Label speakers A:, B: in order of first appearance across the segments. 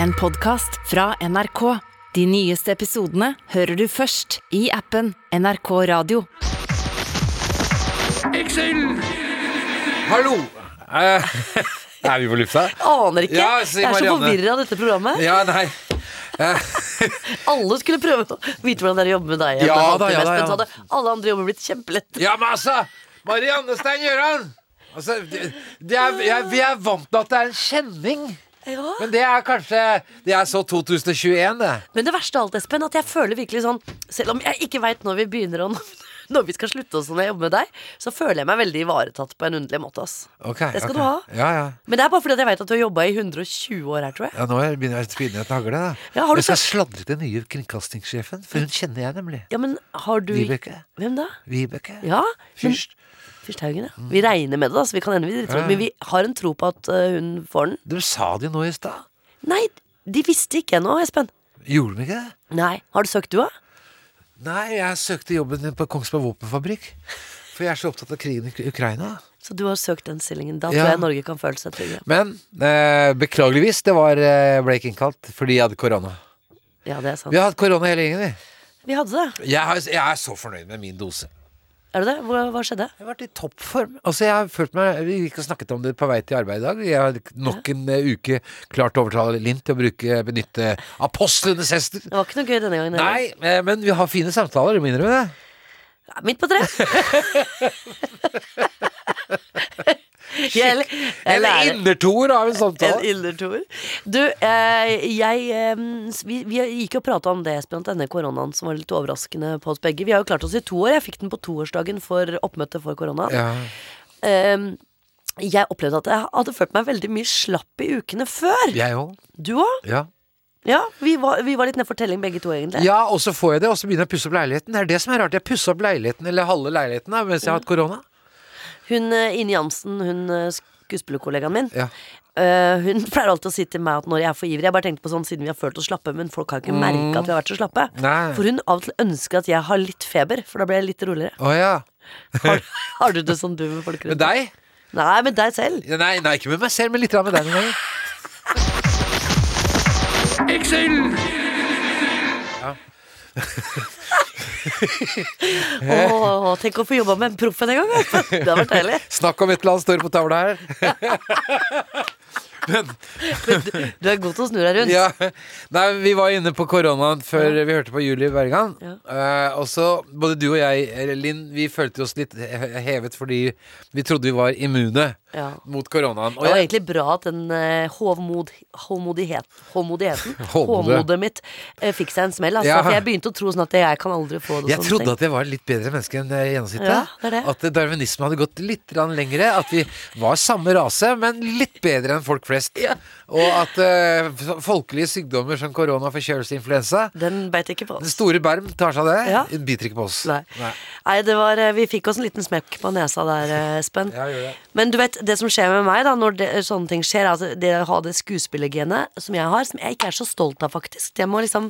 A: En podcast fra NRK. De nyeste episodene hører du først i appen NRK Radio.
B: Excel! Hallo! Eh, er vi på lufta?
C: Aner ikke.
B: Ja, si
C: jeg er så
B: Marianne.
C: forvirra av dette programmet.
B: Ja, nei.
C: Alle skulle prøve å vite hvordan dere jobber med deg.
B: Ja
C: Jente,
B: da, ja
C: mest,
B: da,
C: men
B: ja.
C: så hadde Alle andre jobber blitt kjempelett.
B: Ja, men altså! Marianne Stein Gjøran! Altså, det, det er, jeg, vi er vant til at det er en kjenning.
C: Ja.
B: Men det er kanskje Det er så 2021, det.
C: Men det verste av alt, Espen, at jeg føler virkelig sånn Selv om jeg ikke veit når vi begynner og når vi skal slutte og sånn jeg jobber med deg, så føler jeg meg veldig ivaretatt på en underlig måte. ass
B: Ok,
C: Det skal
B: ok.
C: du ha.
B: Ja, ja.
C: Men det er bare fordi at jeg veit at du har jobba i 120 år her, tror jeg.
B: Ja, Nå er- begynner jeg å spinne i et hagle. da.
C: Ja, har du
B: jeg skal sladre til nye kringkastingssjefen, for hun kjenner jeg nemlig.
C: Ja, men har du
B: Vibeke.
C: Hvem da?
B: Vibeke.
C: Ja, men
B: Fyrst.
C: Fyrsthaugen, ja. Vi regner med det, da, så vi kan hende vi driter oss ut. Men vi har en tro på at eh, hun får den.
B: De sa det jo nå i stad.
C: Nei, de visste ikke ennå, Espen.
B: Gjorde de ikke det?
C: Nei. Har du søkt, du, da?
B: Nei, jeg søkte jobben på Kongsberg våpenfabrikk. For jeg er så opptatt av krigen i Ukraina.
C: Så du har søkt den stillingen. Da
B: Ja.
C: tror jeg Norge kan føle seg trygge.
B: Men eh, beklageligvis, det var, eh, ble ikke innkalt fordi jeg hadde korona.
C: Ja, det er sant.
B: Vi har hatt korona hele gjengen, vi.
C: Vi hadde det.
B: Jeg, har, jeg er så fornøyd med min dose.
C: Er du det? Hva, hva skjedde?
B: Jeg har vært i toppform. Altså, jeg har følt meg Vi gikk og snakket om det på vei til arbeid i dag. Jeg har nok en eh, uke klart å overtale Linn til å bruke, eh, benytte apostlenes hester.
C: Det var ikke noe gøy denne gangen. heller.
B: Nei, eh, men vi har fine samtaler, du må innrømme det.
C: Ja, Midt på treet. jeg, jeg
B: Eller
C: lærer
B: innertoer av en
C: en
B: samtale.
C: ildertoer. Du, eh, jeg eh, vi, vi gikk og prata om det, Espen, at denne koronaen som var litt overraskende på oss begge Vi har jo klart oss i to år. Jeg fikk den på toårsdagen for oppmøtet for koronaen.
B: Ja.
C: Eh, jeg opplevde at jeg hadde følt meg veldig mye slapp i ukene før.
B: Jeg òg.
C: Du òg?
B: Ja.
C: Ja, vi var, vi var litt ned for telling begge to, egentlig.
B: Ja, og så får jeg det, og så begynner jeg å pusse opp leiligheten. Det er det som er rart. Jeg pussa opp leiligheten, eller halve leiligheten, da, mens jeg har hatt korona.
C: Hun eh, Ine Jansen, hun eh, skuespillerkollegaen min,
B: Ja.
C: eh, hun pleier alltid å si til meg at når jeg er for ivrig Jeg bare tenkte på sånn siden vi har følt oss slappe, men folk har ikke merka at vi har vært så slappe.
B: Nei.
C: For hun av og til ønsker at jeg har litt feber, for da blir jeg litt roligere.
B: Å ja.
C: Har, har du det sånn du med folk
B: Med
C: rundt
B: deg?
C: Nei, med deg selv.
B: Ja, Nei, nei, ikke med meg selv, men litt grann med deg noen ganger.
C: Åh, tenk å få jobba med en proff en gang. altså. Det hadde vært deilig.
B: Snakk om et eller annet står på tavla her.
C: Du er god til å snu deg rundt.
B: Ja. Nei, vi var inne på koronaen før vi hørte på Julie Bergan.
C: Ja.
B: Eh, og så, både du og jeg, eller Linn, vi følte oss litt he- hevet fordi vi trodde vi var immune
C: Ja.
B: mot koronaen. Og
C: Det var
B: jeg,
C: egentlig bra at den eh, hovmod, hovmodighet, hovmodigheten
B: Hovmodet.
C: Hovmodet mitt eh, fikk seg en smell. Altså,
B: Ja.
C: For jeg begynte å tro sånn at jeg kan aldri få det
B: Jeg
C: sånn.
B: trodde
C: tenkt.
B: at jeg var litt bedre menneske enn eh, gjennomsnittet.
C: Ja, det er det.
B: At eh, darwinismen hadde gått litt grann lengre. At vi var samme rase, men litt bedre enn folk flest.
C: Ja.
B: Og at eh, f- folkelige sykdommer som korona, forkjølelse, influensa
C: Den beit ikke på
B: Den
C: oss.
B: store berm tar seg av det.
C: Ja.
B: Den biter ikke på oss.
C: Nei. Nei, det var, eh, vi fikk oss en liten smekk på nesa der, eh, Espen.
B: Ja, gjør det.
C: Men du vet, det som skjer med meg da når det, sånne ting skjer, er at det å ha det skuespillergenet som jeg har, som jeg ikke er så stolt av, faktisk. Det må liksom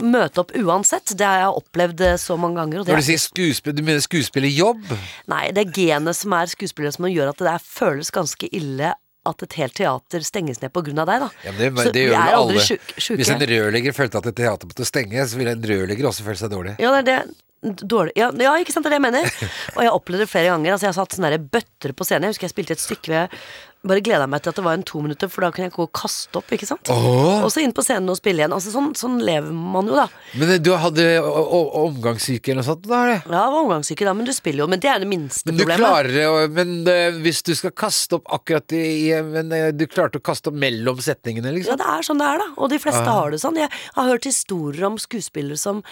C: møte opp uansett. Det har jeg opplevd eh, så mange ganger. Og det
B: Når du sier skuespill, du mener skuespillerjobb?
C: Nei, det er genet som er skuespillere som gjør at det der føles ganske ille at et helt teater stenges ned på grunn av deg, da.
B: Ja, men det,
C: Så
B: det
C: vi
B: gjør
C: er
B: vel alle.
C: aldri sjuk- sjuke.
B: Hvis en rørlegger følte at et teater måtte stenge, så ville en rørlegger også føle seg dårlig.
C: Ja, det er det. Dårlig. Ja, ja, ikke sant, det er det jeg mener. Og jeg opplevde det flere ganger. Altså, jeg har satt sånne der bøtter på scenen. Jeg husker jeg spilte et stykke hvor jeg bare gleda meg til at det var en to minutter, for da kunne jeg gå og kaste opp, ikke sant.
B: Åh!
C: Og så inn på scenen og spille igjen. Altså, sånn, sånn lever man jo, da.
B: Men eh, du hadde o- o- omgangssyke eller noe sånt? Da, eller?
C: Ja, jeg var omgangssyke da, men du spiller jo. Men det er det minste
B: Men du
C: problemet.
B: klarer å- Men eh, hvis du skal kaste opp akkurat i i- Men eh, du klarte å kaste opp mellom setningene,
C: Ja,
B: liksom?
C: det er sånn det er, da. Og de fleste har det sånn. Jeg har hørt historier om skuespillere som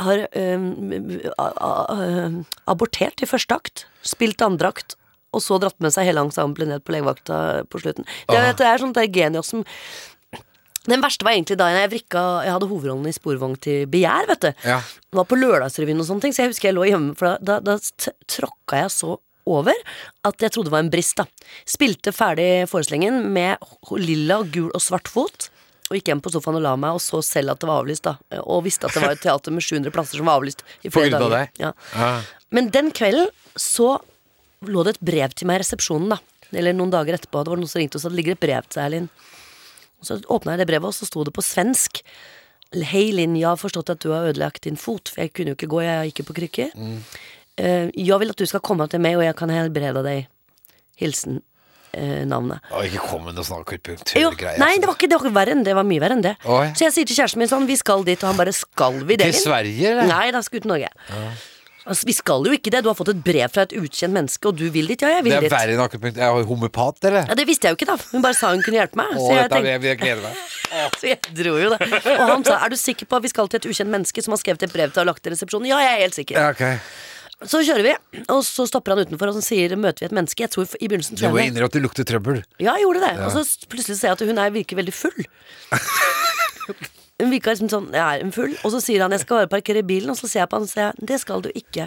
C: har øhm, a- a- øhm, abortert i første akt, spilt andre akt, og så dratt med seg hele ensemblet ned på legevakta på slutten. Det,
B: Ah.
C: det er sånn der genius som den verste var egentlig da jeg vrikka Jeg hadde hovedrollen i Sporvogn til Begjær, vet du.
B: Ja.
C: Det var på Lørdagsrevyen og sånne ting, så jeg husker jeg lå hjemme, for da, da, da t- tråkka jeg så over at jeg trodde det var en brist, da. Spilte ferdig forestillingen med ho- lilla, gul og svart fot. Og gikk hjem på sofaen og la meg og så selv at det var avlyst. da Og visste at det var et teater med 700 plasser som var avlyst. I
B: På
C: flere
B: grunn av
C: dager.
B: deg?
C: Ja.
B: Ah.
C: Men den kvelden så lå det et brev til meg i resepsjonen, da. Eller noen dager etterpå. Det var noen som ringte og sa det ligger et brev til deg, Elin. Og så åpna jeg det brevet, og så sto det på svensk. Hei Linn, jeg har forstått at du har ødelagt din fot, for jeg kunne jo ikke gå, jeg gikk jo på krykker.
B: Mm.
C: Eh, jeg vil at du skal komme til meg, og jeg kan helbrede deg. Hilsen eh, navnet.
B: Å, ikke kom med noe sånn
C: Jo,
B: akupunkturgreier.
C: nei, det var ikke det var ikke verre enn det. det var mye verre enn det.
B: altså. Å, ja.
C: Så jeg sier til kjæresten min sånn, vi skal dit, og han bare skal vi det?
B: Til
C: Linn?»
B: Sverige, eller?
C: Nei, da skal vi til Norge. Altså, vi skal jo ikke det. Du har fått et brev fra et ukjent menneske, og du vil dit. Ja, jeg vil
B: Det er
C: dit.
B: verre enn akupunkt. Er jeg homopat, eller?
C: Ja, Det visste jeg jo ikke, da. Hun bare sa hun kunne hjelpe meg.
B: Å,
C: Så jeg,
B: dette
C: tenkte,
B: er, jeg gleder meg.
C: så jeg dro jo det. Og han sa er du sikker på at vi skal til et ukjent menneske som har skrevet et brev til og lagt til resepsjonen? Ja, jeg er helt sikker.
B: Ja, ok.
C: Så kjører vi, og så stopper han utenfor og så sier møter vi et menneske. Jeg tror i begynnelsen
B: Du
C: tror
B: må
C: jeg
B: innrømme at du lukter trøbbel.
C: Ja, jeg gjorde det. Og så s- plutselig ser jeg at hun er, virker veldig full. Hun virka liksom sånn Jeg er hun full. Og så sier han jeg skal bare parkere bilen, og så ser jeg på han og sier jeg, det skal du ikke.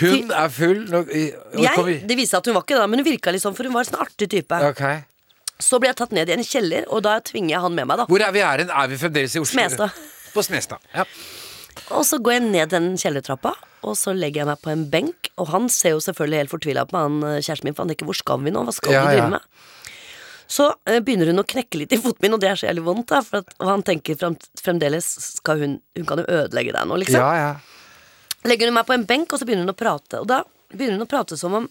B: Hun er full når i- og kommer-
C: Jeg, det viste seg at hun var ikke det, da, men hun virka litt sånn, for hun var en sånn artig type.
B: Ok.
C: Så ble jeg tatt ned i en kjeller, og da tvinger jeg han med meg, da.
B: Hvor er vi er hen? Er vi fremdeles i Oslo?
C: Smestad.
B: På Smestad. Ja.
C: Og så går jeg ned den kjellertrappa, og så legger jeg meg på en benk. Og han ser jo selvfølgelig helt fortvila på meg, han eh, kjæresten min, for han tenker 'hvor skal vi nå', hva skal
B: Ja,
C: vi
B: ja.
C: drive med? Så eh, begynner hun å knekke litt i foten min, og det er så jævlig vondt, da. For at, og han tenker frem, fremdeles skal hun Hun kan jo ødelegge deg nå, liksom.
B: ja, ja.
C: Legger hun meg på en benk, og så begynner hun å prate. Og da begynner hun å prate som om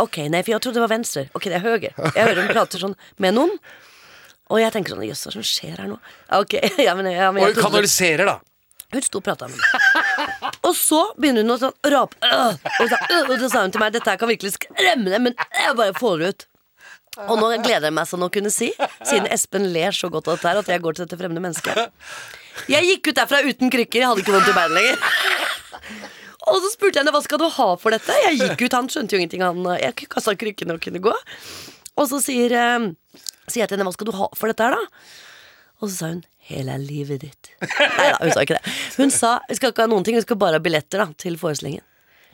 C: Ok, nei, for jeg trodde det var venstre. Ok, det er høyre. Jeg hører hun prater sånn med noen. Og jeg tenker sånn Jøss, hva er det som skjer her nå? Ja, Ok, ja, men, ja, men
B: Og
C: jeg
B: hun
C: trodde-
B: kanaliserer, da.
C: hun sto og prata med meg. Og så begynner hun å sånn rape. øh, Og så, øh, og så sa hun til meg dette her kan virkelig skremme deg, men jeg bare får det ut. Og nå gleder jeg meg sånn å kunne si, siden Espen ler så godt av dette her, at jeg går til dette fremmede mennesket. Jeg gikk ut derfra uten krykker, jeg hadde ikke vondt i beinet lenger. Og så spurte jeg henne hva skal du ha for dette. Jeg gikk ut, han skjønte jo ingenting. Han, jeg kasta krykkene og kunne gå. Og så sier, eh, sier jeg til henne hva skal du ha for dette her, da? Og så sa hun 'hele livet ditt'. Nei da, hun sa ikke det. Hun sa vi skal ikke ha noen ting, vi skal bare ha billetter da, til forestillingen.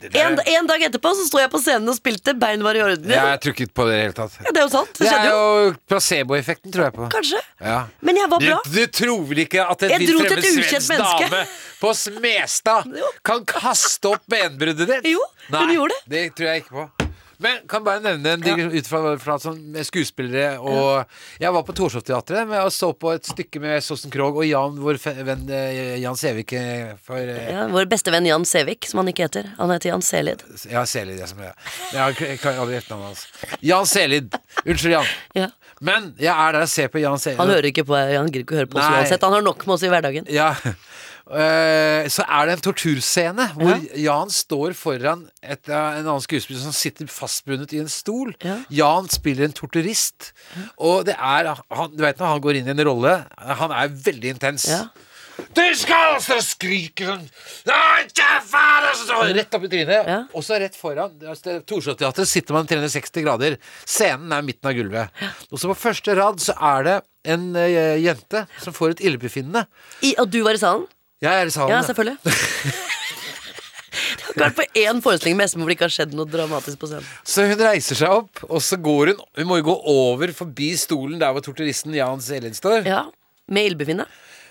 B: der-
C: En, en dag etterpå så sto jeg på scenen og spilte 'Bein var i orden'.
B: Jeg er trukket på det i det hele tatt.
C: Ja, det er jo sant. Det
B: Det er
C: skjedde jo.
B: jo placeboeffekten, tror jeg på.
C: Kanskje.
B: Ja.
C: Men jeg var bra.
B: Du, du tror vel ikke at en
C: Jeg
B: litt
C: dro til
B: fremmed
C: et ukjent
B: svensk
C: menneske.
B: dame på Smestad
C: Jo.
B: kan kaste opp benbruddet ditt?
C: Jo, hun gjorde det.
B: Det tror jeg ikke på. Men kan bare nevne en digg ut fra, fra sånn med skuespillere og Jeg var på Torshov-teatret med- og så på et stykke med Sossen Krogh og Jan, vår fe- venn eh, Jan Sævik eh, for eh,
C: Ja, vår beste venn Jan Sævik, som han ikke heter. Han heter Jan Selid.
B: Ja, Selid, jeg som er Jeg har ikke- jeg kan aldri etternavnet hans. Jan Selid. Unnskyld, Jan.
C: Ja.
B: Men jeg er der og ser på Jan Selid.
C: Han hører ikke på Han gidder ikke å høre på oss
B: Nei.
C: uansett. Han har nok med oss i hverdagen.
B: Ja. Eh, så er det en torturscene hvor Jan står foran et, eh, en annen skuespiller som sitter fastbundet i en stol.
C: Ja.
B: Jan spiller en torturist. Og det er han, Du veit når han går inn i en rolle, han er veldig intens.
C: Ja.
B: Du skal altså skrike sånn «Nei, ikke faen!» og så Rett opp i trynet.
C: Ja.
B: Og så rett foran det er- det er Torshov-teatret sitter man 360 grader. Scenen er midten av gulvet. Og så på første rad så er det en eh, jente som får et illebefinnende.
C: I, og du var i salen?
B: Jeg er i salen.
C: Ja, selvfølgelig. Det har ikke vært på én forestilling med Espen hvor det ikke har skjedd noe dramatisk på scenen.
B: Så hun reiser seg opp, og så går hun Hun må jo gå over forbi stolen der hvor torturisten Jan Selid står,
C: Ja, Med ildbefinnende.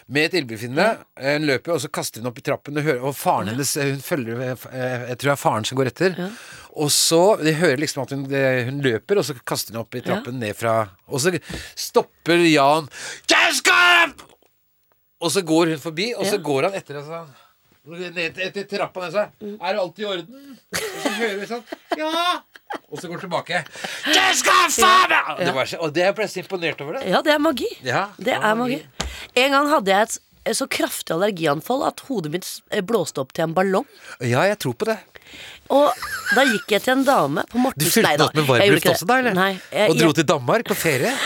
B: med et illebefinnende. Eh, Hun løper, og så kaster hun opp i trappen, og, hører, og faren hennes Hun følger eh, Jeg tror det er faren som går etter. Og så De hører liksom at hun, eh, hun løper, og så kaster hun opp i trappen ned fra Og så stopper Jan Jeg skal opp! Og så går hun forbi, og så
C: Ja.
B: går han etter henne sånn. Ned til- etter trappa ned seg. Er alt i orden? Og så hører vi sånn. Ja! Og så går tilbake. Det skal faen meg Og det var så- Og det er jeg plutselig imponert over det.
C: Ja, det er magi.
B: Ja,
C: det er magi. En gang hadde jeg et s- så kraftig allergianfall at hodet mitt s- eh, blåste opp til en ballong.
B: Ja, jeg tror på det.
C: Og da gikk jeg til en dame på
B: Du
C: Mortens
B: fylte den
C: Nei da,
B: opp med
C: jeg gjorde
B: varmluft
C: ikke
B: også, da?
C: det.
B: eller?
C: Nei, jeg,
B: og dro
C: jeg,
B: til Danmark på ferie?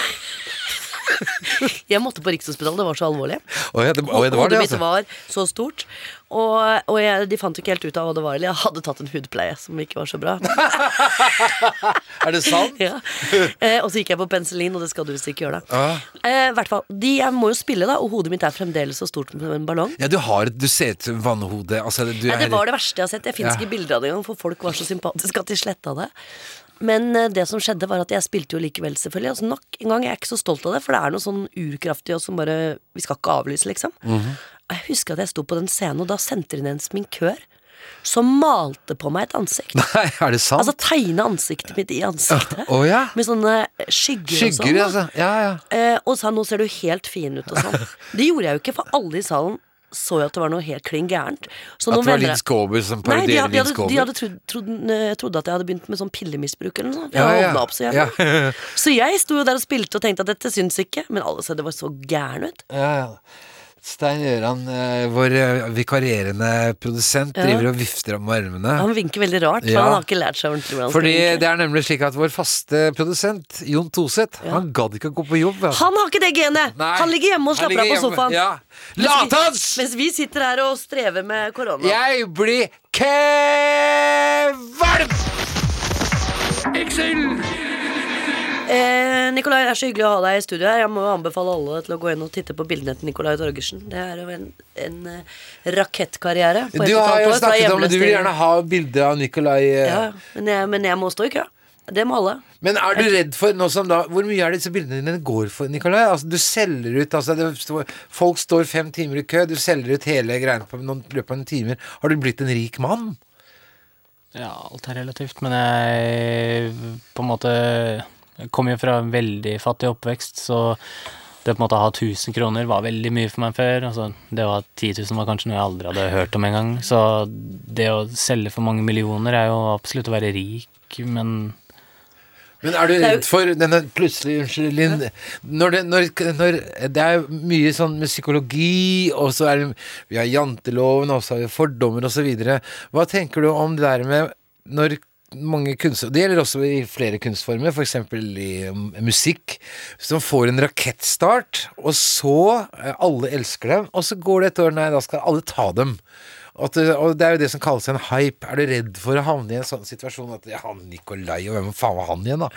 C: jeg måtte på Rikshospitalet, det var så alvorlig.
B: Å ja, det, å, ja, det var
C: hodet
B: det,
C: mitt
B: altså.
C: var så stort. Og, og jeg, de fant jo ikke helt ut av hva det var. Eller jeg hadde tatt en hudpleie som ikke var så bra.
B: Er det sant?
C: ja. eh, og så gikk jeg på penicillin, og det skal du visst ikke gjøre. da
B: Ah.
C: eh, hvert fall, de, Jeg må jo spille, da, og hodet mitt er fremdeles så stort som en ballong.
B: Ja, du har et Du ser ut som vannhode. Altså, du
C: Nei, det
B: er
C: var det verste jeg har sett. Jeg finnes
B: Ja.
C: ikke bilder av det engang, for folk var så sympatiske at de sletta det. Men eh, det som skjedde, var at jeg spilte jo likevel, selvfølgelig. Altså, nok en gang, jeg er ikke så stolt av det, for det er noe sånn urkraftig og som bare
B: Mhm.
C: Vi skal ikke avlyse, liksom. Og Jeg husker at jeg sto på den scenen, og da sendte de ned en sminkør. som malte på meg et ansikt.
B: Nei, er det sant?
C: Altså tegne ansiktet mitt i ansiktet.
B: Å ja.
C: Med sånne skygger,
B: Skygger,
C: og sånn. da.
B: altså. Ja, ja.
C: Eh, og sa 'nå ser du helt fin ut' og sånn. Det gjorde jeg jo ikke, for alle i salen så jo at det var noe helt klin gærent. Så
B: At
C: nå
B: det var
C: mener
B: Linn
C: jeg-
B: Skåber som
C: Nei, de,
B: parodierer
C: hadde- de,
B: Linn
C: hadde, de
B: Skåber.
C: hadde trodd, trodd, trodd at jeg hadde begynt med sånn pillemisbruk eller noe sånt. for
B: Ja,
C: Jeg
B: ja.
C: ja, opp så
B: Ja.
C: jævlig. Så jeg sto jo der og spilte og tenkte at dette syns ikke, men alle sa det var så gæren ut.
B: Ja, ja. Stein Gjøran, eh, vår eh, vikarierende produsent, driver og vifter om armene.
C: Han vinker veldig rart, for
B: Ja.
C: han har ikke lært seg ordentlig hvordan han
B: Fordi
C: skal vinke.
B: det er nemlig slik at vår faste produsent, Jon Toseth, han gadd ikke å gå på jobb. altså.
C: Han har ikke det genet!
B: Nei,
C: han ligger hjemme og
B: han
C: slapper av
B: ligger
C: på
B: hjemme.
C: sofaen.
B: Ja. Latans!
C: Mens vi sitter her og strever med korona.
B: Jeg blir kvalm!
C: Eh, Nikolai, det er så hyggelig å ha deg i studio her. Jeg må jo anbefale alle til å gå inn og titte på bildene til Nikolai Torgersen. Det er jo en, en eh, rakettkarriere. på
B: Du
C: ett og et
B: har
C: halvt
B: jo
C: år, fra
B: snakket om at
C: hjemløs
B: du vil
C: til-
B: gjerne ha bilde av Nikolai. eh.
C: ja, men, jeg, men jeg må stå i kø. Det må alle.
B: Men er du redd for nå som da Hvor mye er disse bildene dine går for, Nikolai? Altså, du selger ut altså, det står, Folk står fem timer i kø, du selger ut hele greiene på noen, i løpet av noen timer. Har du blitt en rik mann?
D: Ja, alt er relativt, men jeg på en måte jeg kom jo fra en veldig fattig oppvekst, så det på en måte å ha 1000 kroner var veldig mye for meg før. Altså, det å ha 10 000 var kanskje noe jeg aldri hadde hørt om engang. Så det å selge for mange millioner er jo absolutt å være rik, men
B: Men er du
C: er jo-
B: redd for denne plutselig Unnskyld, Linn. Når det, når, når, det er mye sånn med psykologi, og så er det Vi har janteloven, og så har vi fordommer, og så videre. Hva tenker du om det der med når mange kunstnere Det gjelder også i flere kunstformer, f.eks. i mm, musikk, som får en rakettstart, og så eh, Alle elsker dem, og så går det et år, nei, da skal alle ta dem. At, det- og det er jo det som kalles en hype. Er du redd for å havne i en sånn situasjon at ja, han Nikolai, og hvem faen var han igjen, da?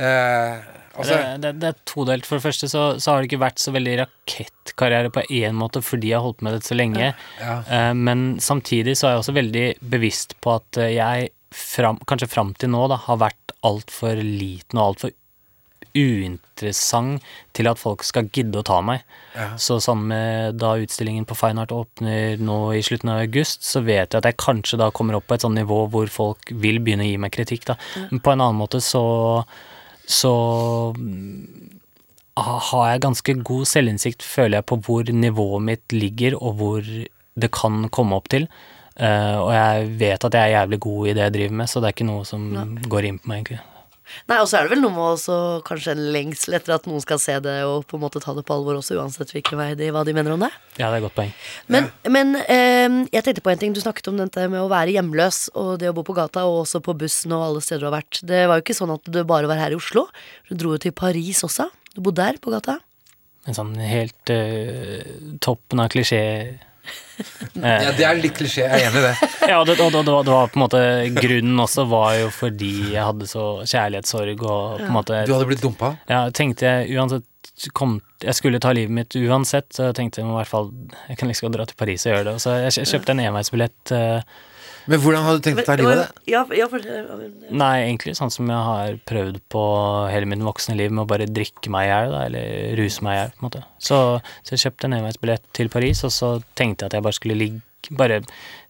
B: Eh, altså,
D: det, det, det er todelt. For det første så, så har det ikke vært så veldig rakettkarriere på én måte fordi jeg har holdt på med dette så lenge.
B: Ja.
D: Eh, Men samtidig så er jeg også veldig bevisst på at eh, jeg fram, kanskje fram til nå da, har vært altfor liten og altfor uinteressant til at folk skal gidde å ta meg. Så sammen med da utstillingen på Fine Art åpner nå i slutten av august, så vet jeg at jeg kanskje da kommer opp på et sånt nivå hvor folk vil begynne å gi meg kritikk. Da. Men på en annen måte så så mm, ha- har jeg ganske god selvinnsikt, føler jeg, på hvor nivået mitt ligger, og hvor det kan komme opp til. Eh, og jeg vet at jeg er jævlig god i det jeg driver med, så det er ikke noe som går inn på meg, egentlig.
C: Nei, Og så er det vel noe med også kanskje en lengsel etter at noen skal se det og på en måte ta det på alvor også, uansett hvilken vei de, hva de mener om det.
D: Ja, det er et godt poeng.
C: Men, men eh, jeg tenkte på en ting. Du snakket om dette med å være hjemløs og det å bo på gata, og også på bussen og alle steder du har vært. Det var jo ikke sånn at du bare var her i Oslo. Du dro jo til Paris også. Du bodde der, på gata.
D: En sånn helt eh, toppen av klisjé
B: ja, det er litt klisjé, jeg er enig i det.
D: Ja, og det, og det, det, var, det var på en måte Grunnen også var jo fordi jeg hadde så kjærlighetssorg og på en måte
B: Du hadde blitt dumpa.
D: Ja, tenkte jeg uansett kom, Jeg skulle ta livet mitt uansett, så jeg tenkte jeg må i hvert fall Jeg kan like liksom dra til Paris og gjøre det. Så jeg kjø- kjøpte en enveisbillett. eh,
B: Men hvordan hadde du tenkt å ta livet av det?
C: Ja, ja, for, ja,
D: Nei, egentlig sånn som jeg har prøvd på hele mitt voksne liv, med å bare drikke meg i hjel, da, eller ruse meg i hjel, på en måte. Så, så jeg kjøpte en enveisbillett til Paris, og så tenkte jeg at jeg bare skulle ligge bare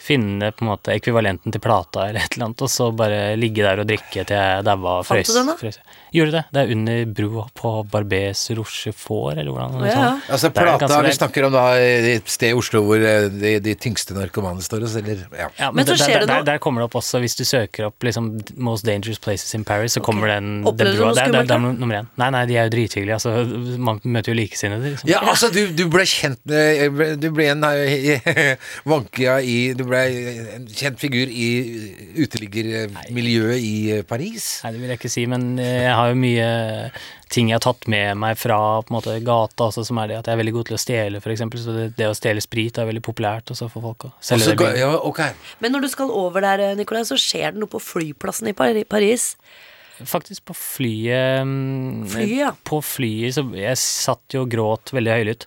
D: finne på en måte ekvivalenten til plata eller et eller annet, og så bare ligge der og drikke til jeg daua og
C: Fant
D: frøs.
C: du den da?
D: frøs. Gjorde det. Det er under brua på Barbés Rochefort, eller hvordan?
C: Å, ja, ja.
B: Altså
D: Det er
B: plata
D: ganske
B: vi
D: rent.
B: snakker om da, et sted i Oslo hvor eh, de, de tyngste narkomane står og selger ja.
D: Ja, men,
C: Men så
D: der,
C: skjer
D: der,
C: det noe-
D: der, der kommer det opp også, hvis du søker opp liksom, Most Dangerous Places in Paris, så kommer den, den
C: Opplevde du
D: brua.
C: noe
D: Det er- det er- det er
C: skummelt,
D: nummer én. Nei, nei, de er jo drithyggelige. Altså, man møter jo likesinnede, liksom.
B: Ja, altså, du, du ble kjent eh, Du ble en eh, vankia i Du ble en kjent figur i uteliggermiljøet i eh, Paris.
D: Nei, det vil jeg ikke si, men eh, jeg har jo mye ting jeg har tatt med meg fra på en måte, gata, altså, som er det at jeg er veldig god til å stjele, f.eks. Så det, det å stjele sprit er veldig populært også for folk. å selge
B: Altså,
D: det
B: ga-
D: billig.
B: ja, ok.
C: Men når du skal over der, Nikolai, så skjer det noe på flyplassen i Pari- Paris.
D: Faktisk på flyet mm,
C: Flyet, ja.
D: På flyet så Jeg satt jo og gråt veldig høylytt.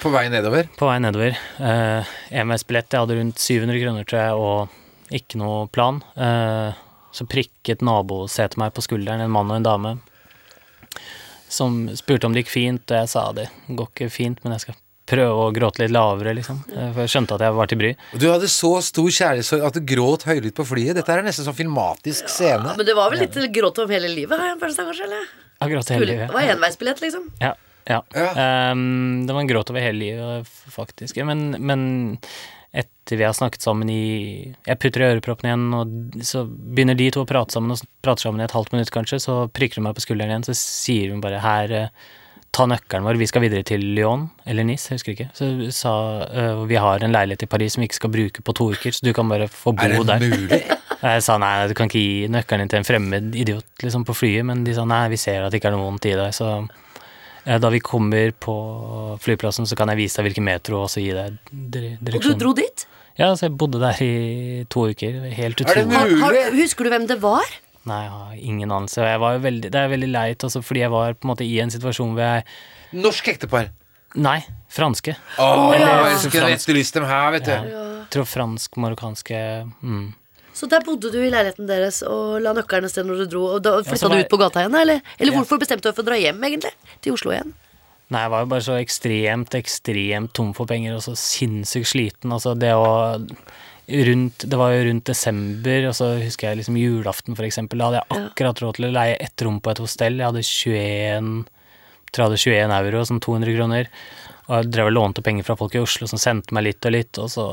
B: På vei nedover.
D: på vei nedover. Eh, EMS-billett, jeg hadde rundt 700 kroner, tror jeg, og ikke noe plan. Eh, så prikket nabosetet meg på skulderen, en mann og en dame, som spurte om det gikk fint, og jeg sa det går ikke fint, men jeg skal prøve å gråte litt lavere, liksom. Eh, For jeg skjønte at jeg var til bry.
B: Og Du hadde så stor kjærlighetssorg at du gråt høylytt på flyet. Dette her er nesten sånn filmatisk scene.
C: Men det var vel litt gråt om hele livet, har jeg en følelse av, kanskje? eller?
D: Jeg gråt hele
C: Skulle- Det
D: livet.
C: var enveisbillett, liksom.
D: Ja, ja.
B: Ja.
D: Ehm, det var en gråt over hele livet, f- faktisk. Ja, Men, men etter vi har snakket sammen i Jeg putter i øreproppene igjen, og så begynner de to å prate sammen, og s- prater sammen i et halvt minutt kanskje, så prikker hun meg på skulderen igjen, så sier hun bare her eh, Ta nøkkelen vår, vi skal videre til Lyon, eller Nice, jeg husker ikke. Så hun sa eh, vi har en leilighet i Paris som vi ikke skal bruke på to uker, så du kan bare få bo
B: Er det
D: der.
B: mulig?
D: Og Jeg sa nei, du kan ikke gi nøkkelen din til en fremmed idiot liksom, på flyet, men de sa nei, vi ser at det ikke er noe vondt i deg, så eh, da vi kommer på flyplassen, så kan jeg vise deg hvilken metro og så gi deg dire-
C: Og du
D: direksjonen.
C: dro dit?
D: Ja, så jeg bodde der i to uker, helt
B: Er det
D: utrolig.
B: mulig?
C: Har, har, husker du hvem det var?
D: Nei, jeg har ingen anelse, og jeg var jo veldig, det er veldig leit også, fordi jeg var på en måte i en situasjon hvor jeg,
B: Norsk ektepar.
D: nei, franske.
B: Å, jeg
D: ja.
B: elsker å etterlyse dem her, vet du.
D: Jeg tror fransk-marokkanske, mm.
C: Så der bodde du i leiligheten deres og la nøkkelen et sted når du dro. Og da
D: Ja, så
C: flytta
D: var
C: du
D: jeg-
C: ut på gata igjen, da, eller? Eller
D: Ja.
C: hvorfor bestemte du deg for å dra hjem, egentlig? Til Oslo igjen?
D: Nei, jeg var jo bare så ekstremt, ekstremt tom for penger og så sinnssykt sliten. Altså det å rundt, Det var jo rundt desember, og så husker jeg liksom julaften, for eksempel. Da hadde jeg akkurat råd til å leie ett rom på et hostell. Jeg hadde 21 tror jeg hadde 21 euro, sånn 200 kroner. Og jeg drev og lånte penger fra folk i Oslo som sendte meg litt og litt, og så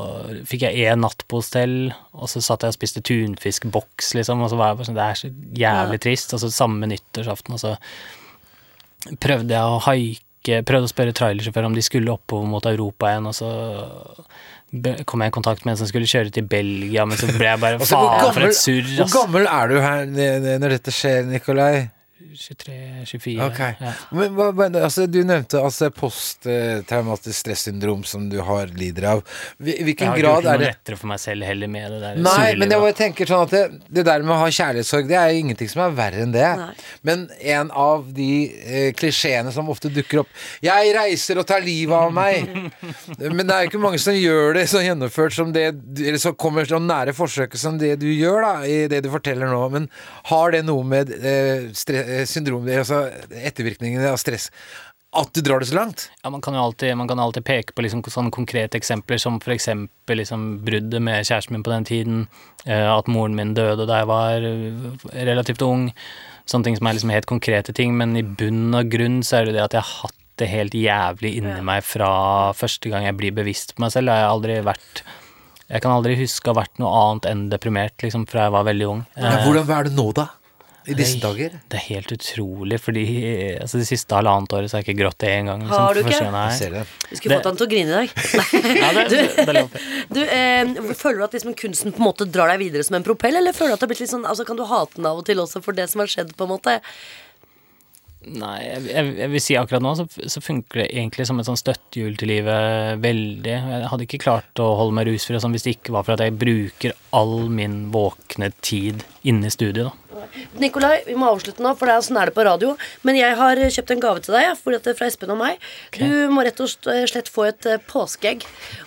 D: fikk jeg én natt på hostell, og så satt jeg og spiste tunfiskboks, liksom, og så var jeg bare sånn Det er så jævlig trist. Og så samme nyttårsaften, og så prøvde jeg å haike, prøvde å spørre trailersjåfører om de skulle oppover mot Europa igjen, og så be- kom jeg i kontakt med en som skulle kjøre til Belgia, men så ble jeg bare
B: Altså, hvor,
D: faen for
B: gammel,
D: et surr,
B: hvor
D: ass.
B: gammel er du her n- n- når dette skjer, Nikolai?
D: 23-24.
B: Ok.
D: Ja.
B: Men, hva- men, altså, du nevnte altså, posttraumatisk stressyndrom som du har lider av. Hvil-
D: Jeg
B: Hvilken
D: har ikke gjort
B: grad er
D: noe
B: det?
D: lettere for meg selv heller med det der
B: Nei,
D: surrelivet.
B: men jeg bare tenker sånn at det, det der med å ha kjærlighetssorg, det er jo ingenting som er verre enn det.
C: Nei.
B: Men en av de eh, klisjeene som ofte dukker opp 'Jeg reiser og tar livet av meg'. men det er jo ikke mange som gjør det så gjennomført som det Eller så kommer så nære forsøket som det du gjør, da, i det du forteller nå. Men har det noe med eh, stre eh, syndrom Altså ettervirkningene av stress At du drar det så langt?
D: Ja, man kan jo alltid, man kan alltid peke på liksom sånne konkrete eksempler som for eksempel liksom bruddet med kjæresten min på den tiden, eh, at moren min døde da jeg var eh, relativt ung, sånne ting som er liksom helt konkrete ting, men i bunn og grunn så er det det at jeg har hatt det helt jævlig inni meg fra første gang jeg blir bevisst på meg selv, jeg har aldri vært jeg kan aldri huske å ha vært noe annet enn deprimert liksom, fra jeg var veldig ung.
B: Ja,
D: Eh,
B: hvordan er det nå, da? I disse
D: Nei,
B: dager?
D: Det er helt utrolig, fordi eh, altså, det siste halvannet året så har jeg ikke grått én gang. Liksom,
C: Har du
D: for første
C: ikke?
D: gang.
B: Jeg
D: Nei.
B: ser det.
C: Vi skulle
D: Det-
C: fått han til å grine i dag.
D: Ja, det, det er lov.
C: Du, eh, Føler du at liksom kunsten på en måte drar deg videre som en propell, eller føler du at det har blitt litt sånn, altså kan du hate den av og til også for det som har skjedd, på en måte?
D: Nei, jeg, jeg, jeg vil si akkurat nå så, så funker det egentlig som et sånn støttehjul til livet veldig. Jeg hadde ikke klart å holde meg rusfri og sånn hvis det ikke var for at jeg bruker all min våkne tid inne i studio, da.
C: Nikolai, vi må avslutte nå, for det er sånn er det på radio. Men jeg har eh, kjøpt en gave til deg ja, fordi at det er fra Espen og meg. Du må rett og slett få et eh, påskeegg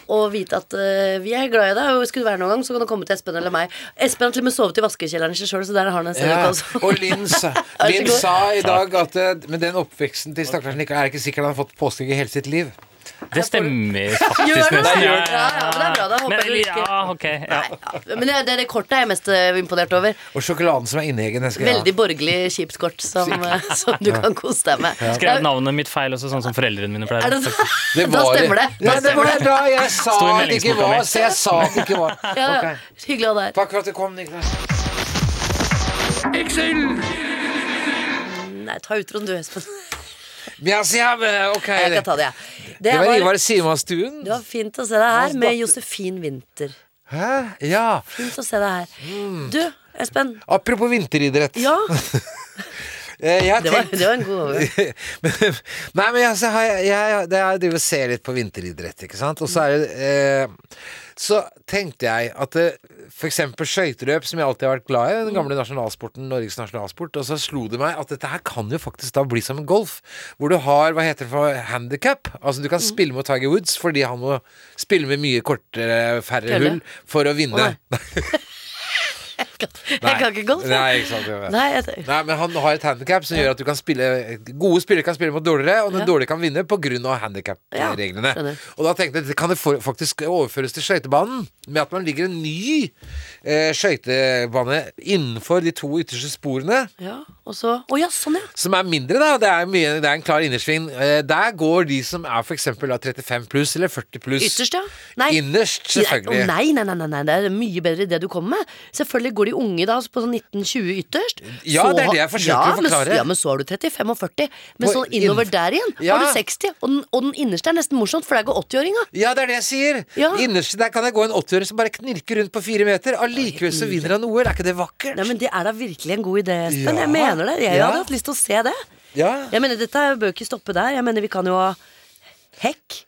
C: og vite at eh, vi er glad i deg. Og skulle det være noen gang, så kan du komme til Espen eller meg. Espen har til og med sovet i vaskekjelleren sin sjøl, så der har han en
B: Ja,
C: sending også.
B: og Linn sa,
C: Vær så
B: Linn
C: god.
B: sa i dag at eh, med den oppveksten til stakkars Nicolai er det ikke sikkert han har fått påskeegg i hele sitt liv.
D: Det stemmer faktisk
C: Gjør det?
D: nesten.
C: Ja, ja, men det er bra, da håper jeg
D: Men,
C: du ikke-
D: ja, ok. Ja.
C: Ja, men det, det, det kortet er jeg mest eh, imponert over.
B: Og sjokoladen som er inni egget. den skal jeg ha.
C: Veldig borgerlig kjipt kort som, eh, som du kan kose deg med.
D: Skrev navnet mitt feil også, sånn som foreldrene mine
C: Er
D: pleier.
C: det
D: å-
B: Det
C: Da
B: var
C: stemmer det.
B: Nei, det var det da jeg sa
D: Sto i
B: at det ikke
D: meldingsboka
B: var.
D: mi.
B: Så jeg sa at det ikke var.
C: Ja, ja.
B: Ok.
C: Hyggelig å ha deg her.
B: Takk for at du kom, Nicolai.
C: Nei, ta utroen du, Espen.
B: Yes, ja, men, ok.
C: Jeg
B: Det
C: kan ta det, jeg. Det
B: var
C: var,
B: Ivar Simonstuen.
C: det var fint å se deg her med Josefin Winther.
B: Hæ? Ja.
C: Fint å se deg her. Du, Espen.
B: Apropos vinteridrett.
C: Ja,
B: Eh, Jeg har
C: det var,
B: tenkt
C: det var en god overgang.
B: men, nei, men altså, jeg, så har jeg, jeg, det- jeg driver og ser litt på vinteridrett, ikke sant. Og så er det eh, Så tenkte jeg at eh, for eksempel skøyteløp, som jeg alltid har vært glad i, den gamle
C: Mm.
B: nasjonalsporten, Norges nasjonalsport, og så slo det meg at dette her kan jo faktisk da bli som en golf, hvor du har, hva heter det for handikap? Altså du kan
C: Mm.
B: spille mot Tiger Woods fordi han må spille med mye kortere, færre
C: Kølle.
B: hull for å vinne.
C: Jeg kan ikke golf. jeg.
B: Nei, ikke sant, jeg vet.
C: Nei, jeg,
B: Nei, men han har et handikap som gjør at du kan spille gode spillere kan spille mot dårligere, og den
C: Ja.
B: dårlige kan vinne pga. handikap-reglene.
C: Ja, skjønner.
B: og da tenkte jeg at det kan det for- faktisk overføres til skøytebanen, med at man ligger en ny eh, skøytebane innenfor de to ytterste sporene.
C: ja, og så Å ja, sånn ja.
B: Som er mindre, da. Det er, mye, det er en klar innersving. Eh, Der går de som er for eksempel da 35 pluss eller 40 pluss.
C: Ytterst, ja. Nei.
B: Innerst, selvfølgelig.
C: Å, Nei, nei, nei, nei, nei, det er mye bedre det du kommer med. Selvfølgelig går de unge da på sånn 19-20 ytterst.
B: Ja, det er det jeg forsøker
C: ja,
B: å
C: men-
B: forklare.
C: ja, men så har du 35 og 40. Men
B: På-
C: sånn innover
B: innenfor-
C: der igjen
B: Ja.
C: har du 60. Og den, og den innerste er nesten morsomt, for der går 80-åringa.
B: Ja, det er det jeg sier!
C: Ja.
B: Innerst der kan jeg gå en 80-åring som bare knirker rundt på fire meter. Allikevel så vinner han OL. Er ikke det vakkert?
C: Nei, men Det er da virkelig en god idé, Espen.
B: Ja.
C: Jeg mener det. Jeg
B: Ja.
C: hadde hatt lyst til å se det.
B: Ja.
C: Jeg mener, Dette bør ikke stoppe der. Jeg mener, Vi kan jo ha hekk.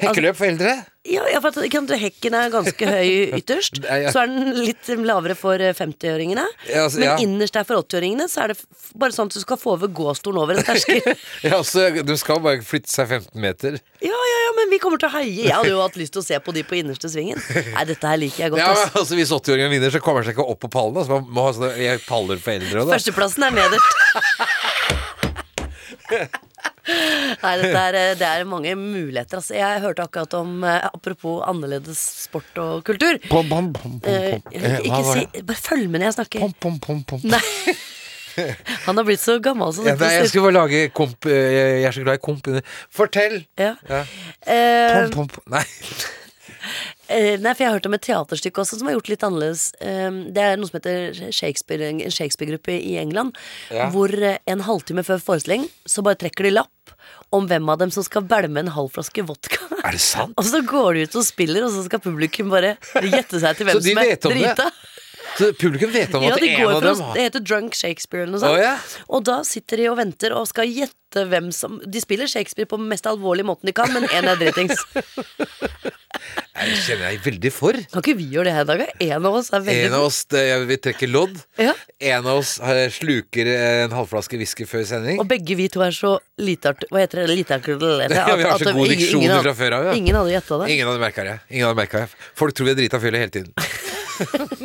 B: Hekkeløp
C: altså-
B: for eldre?
C: Ja, ja, for at, ikke sant, Hekken er ganske høy ytterst.
B: Nei, ja.
C: Så er den litt lavere for eh, 50-åringene.
B: Ja, altså,
C: men
B: ja.
C: innerst der for 80-åringene Så er det f- bare sånn at du skal få over gåstolen over en terskel.
B: Ja, altså, du skal jo bare flytte seg 15 meter.
C: ja, ja, ja, men vi kommer til å heie. Jeg hadde jo hatt lyst til å se på de på innerste svingen. Nei, dette her liker jeg godt.
B: Ja, men
C: ass.
B: altså Hvis 80-åringen vinner, så kommer han seg ikke opp på pallen. Altså, man må ha sånne jeg- paller for eldre. også, Da.
C: Førsteplassen er nederst. Nei, dette er, eh, det er mange muligheter. Altså, jeg hørte akkurat om eh, Apropos annerledes sport og kultur.
B: Pom, pom, pom, pom,
C: Eh,
B: pom. Eh,
C: ikke
B: hva var
C: si,
B: det?
C: bare følg med når jeg snakker.
B: Pom, pom, pom, pom.
C: Nei. Han har blitt så gammel så
B: Ja,
C: dette
B: nei, jeg skulle bare lage komp eh, Jeg er så glad i komp. Fortell!
C: ja.
B: Ja.
C: Eh,
B: Pom, pom, pom. Nei.
C: eh, nei, for jeg har hørt om et teaterstykke også som er gjort litt annerledes. Eh, det er noe som heter Shakespeare, en Shakespeare-gruppe i England.
B: Ja.
C: Hvor eh, en halvtime før forestilling så bare trekker de lapp om hvem av dem som skal bælme en halv flaske vodka.
B: Er det sant?
C: Og så går de ut og spiller, og så skal publikum bare gjette seg til hvem
B: Så de
C: som er
B: vet om det?
C: drita.
B: Så publikum vet om
C: Ja,
B: at
C: de
B: en
C: går
B: av
C: for
B: dem
C: å-
B: har
C: Det heter Drunk Shakespeare eller noe
B: Å,
C: sånt.
B: ja.
C: Og da sitter de og venter og skal gjette hvem som De spiller Shakespeare på den mest alvorlige måten de kan, men én er dritings.
B: Jeg kjenner jeg veldig for.
C: Kan ikke vi gjøre det her i dag? En av oss er veldig
B: En av oss det, jeg- vi trekker lodd.
C: Ja.
B: En av oss eh, sluker eh, en halvflaske whisky før sending.
C: Og begge vi to er så liteart... Hva heter det? Liteartikulerte.
B: Ja, vi har så god diksjon
C: ingen,
B: fra før av, ja.
C: Ingen hadde gjetta det.
B: Ingen hadde merka det. Ingen hadde merket det. Folk tror vi er drita fjellet hele tiden.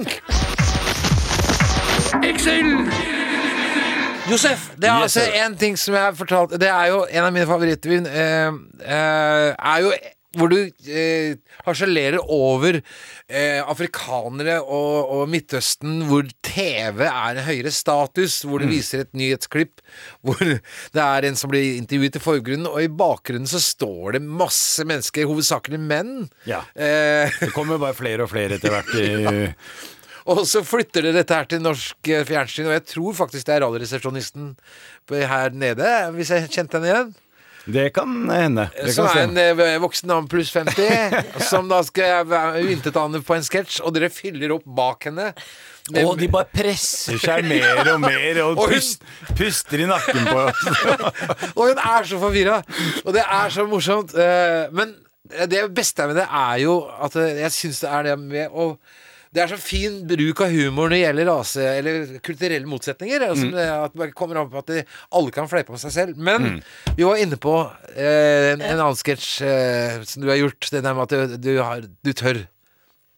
B: Josef, det er altså en ting som jeg har fortalt Det er jo en av mine favorittvin eh, eh, Er jo hvor du eh, harselerer over eh, afrikanere og, og Midtøsten, hvor TV er en høyere status, hvor
E: Mm.
B: du viser et nyhetsklipp, hvor det er en som blir intervjuet i forgrunnen, og i bakgrunnen så står det masse mennesker, hovedsakelig menn.
E: Ja.
B: Eh,
E: Det kommer bare flere og flere etter hvert. i-
B: og så flytter dere dette her til norsk eh, fjernsyn, og jeg tror faktisk det er radioresepsjonisten på- her nede, hvis jeg kjente henne igjen.
E: Det kan hende. Det
B: Som
E: kan
B: er
E: stemme.
B: en eh, voksen dame pluss 50, som da skal eh, være uintetane på en sketsj, og dere fyller opp bak henne. Med,
E: Og de bare presser seg mer og mer og
B: Og hun-
E: pust, puster i nakken på oss.
B: og hun er så forvirra! Og det er så morsomt. eh, Men det beste med det er jo at eh, jeg syns det er det med å det er så fin bruk av humor når det gjelder rase eller kulturelle motsetninger. Altså, det- At det bare kommer an på at det, alle kan fleipe om seg selv. Men vi var inne på eh, en, en annen sketsj eh, som du har gjort. Det der med at du, du, har, du tør.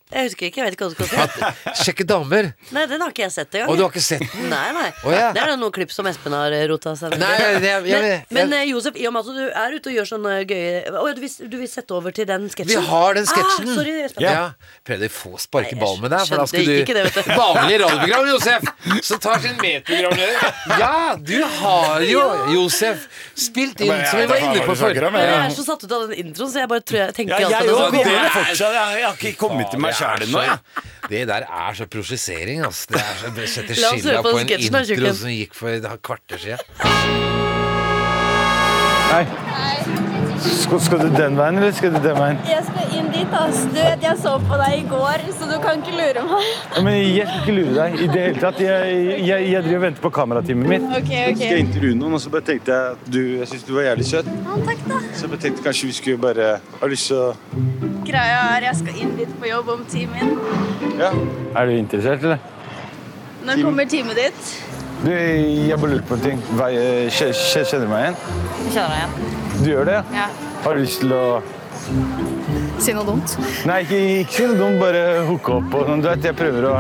C: Jeg husker ikke. Jeg vet ikke hva det skal si.
B: Sjekke damer.
C: Nei, den har ikke jeg sett engang.
B: Og du har ikke sett den?
C: Nei, nei.
B: Å, ja.
C: Det er da noen klipp som Espen har eh, rota seg med.
B: Nei, jeg- jeg-
C: men
B: jeg-
C: men eh, Josef, i og med at du er ute og gjør sånne gøye Å ja, du vil, du vil sette over til den sketsjen?
B: Vi har den sketsjen.
C: Ah, sorry, Espen.
B: ja. Prøvde å få sparke
C: Nei, jeg
B: ball med deg, for da
C: skjønte
B: skulle du
C: ikke det, vet du.
B: Vanlig radioprogram, Josef! Som tar sin medprogramleder. Ja, du har jo, Josef, spilt inn
E: Men jeg
B: som vi
E: vet
B: var
E: da faen
B: inne på
E: hva du
B: før.
E: snakker om, jeg.
C: Jeg er så satt ut av den introen, så jeg bare tror jeg tenker
E: Ja, jeg
C: alltid
E: òg.
C: på det. sånn,
E: Det er fortsatt Jeg har ikke kommet til meg sjæl ennå, jeg.
B: Det der er så prosjisering, altså. Det er så, det setter
C: La oss høre
B: skylda
C: på
B: på
C: den
B: en
C: sketsjen da,
B: intro
C: tjukken.
B: som gikk for et kvarter siden.
F: Hei.
G: Nei,
F: Skal, skal du den veien, eller skal du den veien?
G: jeg skal inn dit, ass. Du vet, jeg så på deg i går, så du kan ikke lure meg.
F: Ja, men jeg skal ikke lure deg i det hele tatt. Jeg, jeg, jeg driver og venter på kameratimen min.
G: Ok,
F: Så skal jeg intervjue noen, og så bare tenkte jeg at du Jeg syns du var jævlig søt.
G: takk da.
F: Så jeg bare tenkte kanskje vi skulle bare Har du lyst til å
G: Greia er, jeg skal inn dit på jobb om timen.
F: Ja. Er du interessert, eller?
G: Når kommer timet ditt?
F: Du, jeg bare lurer på en ting. Vei, kje- kje- kjenner du meg igjen?
H: Kjenner deg igjen.
F: Du gjør det?
H: Ja.
F: Har du lyst til å
H: Si noe dumt.
F: Nei, ikke, ikke si noe dumt. Bare hooke opp og sånn. Du vet, jeg prøver å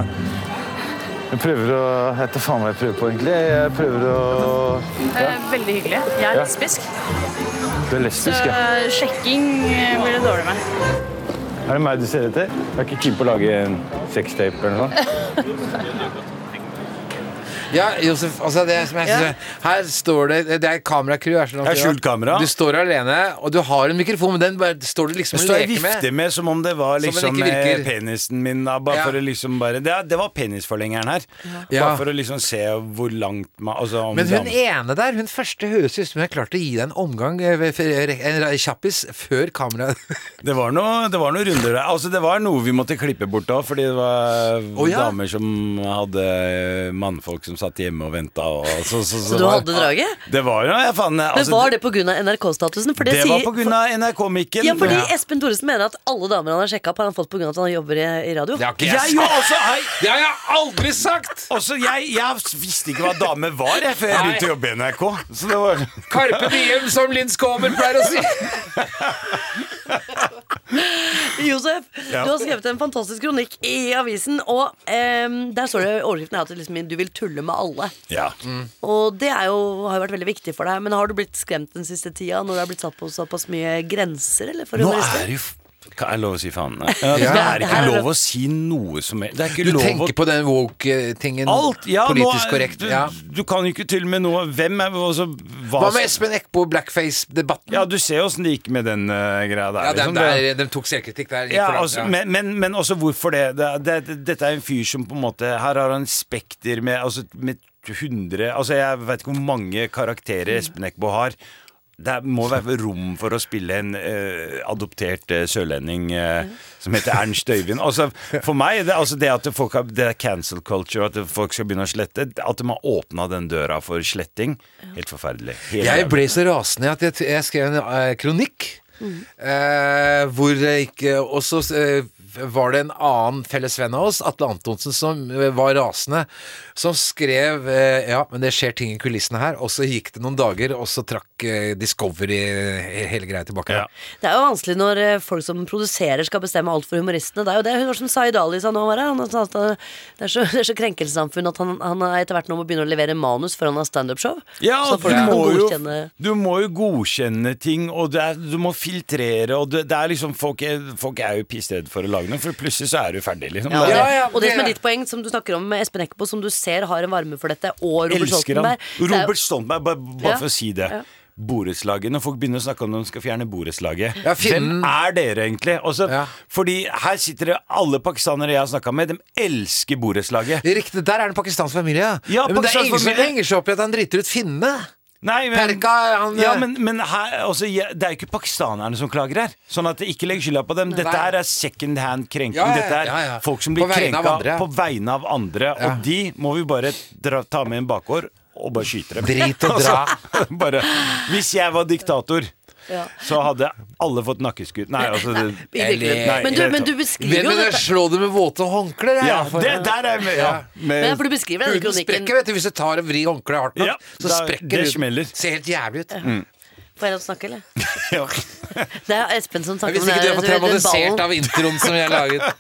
F: Jeg prøver å Jeg vet da faen hva jeg prøver på, egentlig. Jeg prøver å
H: Veldig hyggelig. Jeg er lesbisk. eh,
F: Du er lesbisk, ja.
H: sjekking blir det dårlig med.
F: Er det meg du ser etter? Jeg er ikke keen på å lage en sextape eller noe sånt.
B: Ja, Josef, altså det som jeg synes, Her står det Det er kameracrew. her, sånn at
E: Det er skjult kamera.
B: Du står alene, og du har en mikrofon, men den bare står du liksom
E: Jeg
B: og
E: står og
B: leker med.
E: vifter med som om det var
B: Som den
E: liksom
B: ikke
E: eh,
B: virker.
E: penisen min. Da, bare
B: Ja.
E: for å liksom bare, det, er- det var penisforlengeren her.
B: Ja.
E: Bare for å liksom se hvor langt man altså, om
B: Men hun
E: dam-
B: ene der, hun første høres ut som hun har klart å gi deg en omgang, eh, ved- en kjappis, før kameraet
E: det, var noe, det var noen runder der. Altså, det var noe vi måtte klippe bort da, fordi det var
B: Å, ja.
E: damer som hadde eh, mannfolk som satt hjemme og venta. Så, så, så,
C: Så du
E: var-
C: hadde draget?
E: Det var jo ja, faen
C: Men
E: altså,
C: var det pga. NRK-statusen? For
E: det,
C: det, sier
E: var på grunn av NRK-mikken.
C: Ja, fordi Espen Thoresen mener at alle damer han har sjekka opp, har han fått pga. at han jobber i, i radio.
B: har ikke
E: Jeg jo også, hei,
B: Det har jeg aldri sagt!
E: også jeg, jeg visste ikke hva dame var jeg, før jeg
B: Nei.
E: begynte å jobbe i NRK. Så det var
B: Carpe diem, som Linn Skåber pleier å si.
C: Josef,
E: Ja.
C: du har skrevet en fantastisk kronikk i avisen, og ehm, der står det overskriften er at liksom, du vil tulle med alle.
E: Ja.
C: Og det er jo, har jo vært veldig viktig for deg. Men har du blitt skremt den siste tida når det har blitt satt på såpass mye grenser? Eller, for
E: Nå
C: humorister?
E: er det jo f- Kan jeg lov å si faen? Nei. Ja, det er ikke lov å si noe som helst. Det er
B: Du
E: ikke lov å
B: tenker på den woke-tingen.
E: Alt! Ja,
B: politisk
E: nå er-
B: korrekt.
E: Du,
B: Ja.
E: du kan jo ikke til med noe Hvem er altså, hva,
B: Hva med Espen Eckbo, blackface-debatten?
E: Ja, du ser åssen det gikk med den eh, greia der.
B: Ja, den
E: liksom.
B: der, de tok selvkritikk der. gikk
E: Ja,
B: for langt,
E: altså,
B: ja.
E: men, men, men også hvorfor det? Det, er- det, det? Dette er en fyr som på en måte Her har han spekter med, altså, med 100 Altså Jeg vet ikke hvor mange karakterer Espen Eckbo har. Det er- må være rom for å spille en eh, adoptert eh, sørlending eh, som heter Ernst Øyvind. Altså, for meg, det, altså det at folk har, det er cancel culture, at folk skal begynne å slette At de har åpna den døra for sletting, helt forferdelig. Helt
B: Jeg
E: jævlig.
B: ble så rasende at jeg, t- jeg skrev en eh, kronikk.
E: Mm.
B: eh, hvor jeg ikke Og så eh, var det en annen felles venn av oss, Atle Antonsen, som eh, var rasende, som skrev eh, Ja, men det skjer ting i kulissene her. Og så gikk det noen dager, og så trakk eh, Discovery he- hele greia tilbake.
E: Ja.
C: Det er jo vanskelig når eh, folk som produserer skal bestemme alt for humoristene. Det er jo det hun var som Zaid Ali sa nå. Var det. Han sa at eh, det er så, det er så krenkelsessamfunn at han, han er etter hvert nå må begynne å levere manus før han har standup-show.
E: Ja,
C: så
E: og
C: folk
E: du,
C: kan
E: må jo,
C: godkjenne-
E: du må jo godkjenne ting, og det er, du må filtrere, og det, det er liksom Folk er, folk er jo pissredde for å lage noe, for plutselig så er du ferdig, liksom.
C: Ja, og, det,
E: Det-
B: Ja, ja,
C: og det
B: det-
C: som er ditt poeng, som du snakker om med Espen Eckbo, som du ser har en varme for dette, og Robert
E: Elsker han.
C: Stoltenberg det er jo-
E: Robert Stoltenberg, bare, bare
C: Ja,
E: for å si det.
C: ja.
E: Borettslaget, når folk begynner å snakke om når de skal fjerne borettslaget
B: Ja, finnen-
E: Hvem er dere, egentlig? Også,
B: Ja.
E: Fordi her sitter det alle pakistanere jeg har snakka med, de elsker borettslaget.
B: Riktig, der er det en pakistansk familie.
E: Ja,
B: men det
E: pakistansk
B: er ingen som
E: familie.
B: henger seg opp i at han driter ut finnene.
E: Nei, men,
B: Perka, han- eh,
E: ja, men, men her, altså, jeg- det er jo ikke pakistanerne som klager her. Sånn at det ikke legg skylda på dem. Dette
B: Nei.
E: her er second hand krenking.
B: Ja, ja,
E: Dette er
B: ja, ja.
E: folk som
B: På
E: blir
B: vegne av
E: krenka
B: andre.
E: på vegne av andre.
B: Ja.
E: Og de må vi bare dra, ta med en bakgård og bare skyte dem.
B: Drit og dra.
E: Altså, bare, hvis jeg var diktator,
C: Ja.
E: så hadde alle fått nakkeskudd. Nei, altså det,
C: i virkeligheten.
B: Eller-
C: men, du, men du
B: Hvem
C: beskriver jo
B: vil jeg
C: dette.
B: slå det med våte håndklær? jeg,
E: ja,
B: for-
E: det der er med, ja,
C: Men,
E: med
C: for du beskriver
B: Huden
C: denne kronikken
B: sprekker, vet du. Hvis du tar og vrir håndkleet hardt nok,
E: Ja,
B: så
E: da-
B: sprekker
E: det
B: huden.
E: smeller.
B: Ser helt jævlig ut.
C: Får jeg lov til å snakke, eller?
E: ja.
C: Det er Espen som snakker
B: Hvis
C: om
B: ikke du
C: det.
B: er for
C: du vet, den ballen.
B: traumatisert av introen som jeg laget.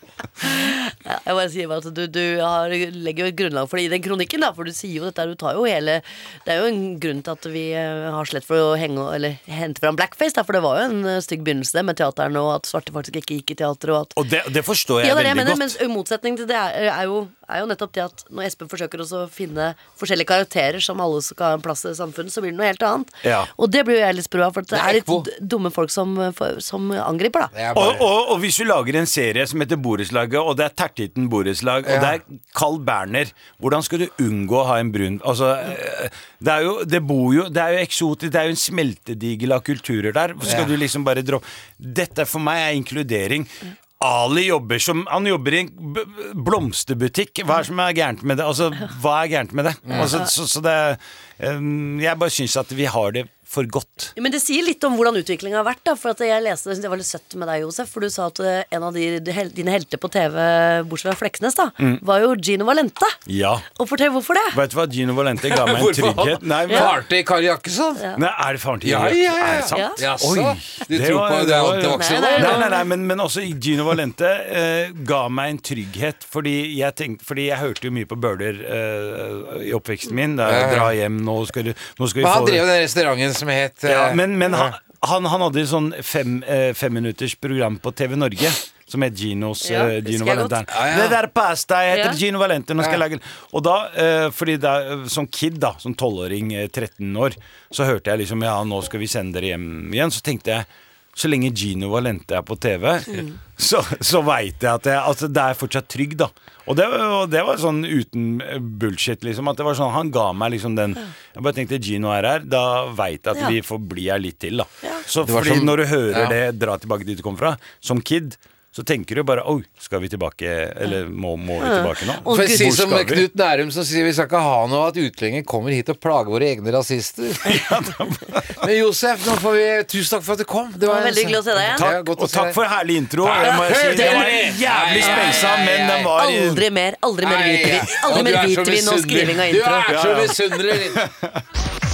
C: Ja, Jeg bare sier bare at du, du har, legger jo et grunnlag for det i den kronikken, da, for du sier jo dette, her, du tar jo hele Det er jo en grunn til at vi eh, har slett for å henge, eller, hente fram blackface, da, for det var jo en eh, stygg begynnelse med teateren, og at svarte faktisk ikke gikk i teater, og at
E: Og det, det forstår jeg
C: ja, det er det jeg
E: veldig
C: mener, mens
E: godt.
C: i motsetning til det er, er, jo, er jo nettopp det at når Espen forsøker også å finne forskjellige karakterer som alle skal ha en plass i samfunnet, så blir det noe helt annet.
E: Ja.
C: Og det blir jo jeg litt sprø av, for det
B: Det er
C: er litt
B: ekko.
C: d- dumme folk som, eh, for- som angriper, da.
B: Det er
E: Og,
B: bare
E: og, og hvis du lager en serie som heter Borettslaget, og det er Tertitten borettslag, og det er Carl Berner, hvordan skal du unngå å ha en brun Altså, eh, det er jo Det bor jo Det er jo eksotisk, det er jo en smeltedigel av kulturer der. Så
B: Ja.
E: skal du liksom bare droppe Dette for meg er inkludering. Ali jobber som Han jobber i en b- b- blomsterbutikk. Hva er det som er gærent med det? Altså, hva er gærent med det? Altså, så, så det eh, Jeg bare syns at vi har det for godt.
C: Men det sier litt om hvordan utviklingen har vært. da For at jeg leste, Det var litt søtt med deg, Josef, for du sa at eh, en av de, de hel, dine helter på TV, bortsett fra Fleksnes, da
B: Mm.
C: var jo Gino Valente.
E: Ja.
C: Og fortell hvorfor det.
E: Vet du hva, Gino Valente ga meg en
B: Hvorfor
E: trygghet.
B: han faren til Kari Jakkesson?
E: Nei, er det faren til
B: Ja,
E: Irak?
B: ja, ja.
E: Er det sant?
C: Ja.
B: Jaså?
E: Oi,
B: Du tror på det, var, det var ikke
C: Nei,
B: sånn?
C: nei,
E: Nei, nei, nei, men, men også Gino Valente eh, ga meg en trygghet, fordi jeg, tenkte, fordi jeg hørte jo mye på Bøhler eh, i oppveksten min. Det er
B: Ja,
E: jo
B: ja.
E: dra hjem, nå skal, du, nå skal vi
B: Men han
E: få
B: drev den restauranten som het eh,
E: ja, Men, men han, han, han hadde sånn fem, eh, femminutters program på TV Norge. Som het Ginos
C: Ja,
E: eh,
C: husker
E: Gino
C: jeg
E: Valente.
C: godt.
B: Ja, ja.
E: Det der er pasta, jeg heter
H: Ja.
E: Gino Valente. Nå skal jeg
B: Ja.
E: lage den. Og da, eh, fordi da, eh, som kid, da, som tolvåring, eh, 13 år, så hørte jeg liksom Ja, nå skal vi sende dere hjem igjen. Så tenkte jeg så lenge Gino Valente er på TV, så, så veit jeg at jeg, altså, det er fortsatt trygg, da. Og det, og det var sånn uten bullshit, liksom. At det var sånn, Han ga meg liksom den Jeg bare tenkte Gino er her, da veit jeg at
C: Ja.
E: vi får bli her litt til, da. Så
B: Det var
E: fordi
B: som-
E: når du hører
B: ja.
E: det eh, 'dra tilbake dit du kom fra', som kid, så tenker du bare 'oi, skal vi tilbake', eller 'må, må vi tilbake nå'?
B: For å si
E: Hvor
B: som
E: skal vi?
B: Knut Nærum som sier vi skal ikke ha noe at utlendinger kommer hit og plager våre egne rasister. Men Josef, nå får vi tusen takk for at du kom. Det
C: var veldig hyggelig å se deg igjen.
B: Ja,
E: Takk,
B: godt å
E: og
B: se
E: takk
B: deg.
E: for herlig intro. Det må jeg si. Det var jævlig spensa, men den var
C: Aldri mer aldri mer
B: Nei,
C: hviter vi.
B: ja.
C: Aldri
B: Og
C: mer
B: du er så
C: hviter vi nå
B: misunnelig.
C: skriving av intro.
B: Du er
E: Ja,
B: så
E: ja.
B: misunnelig.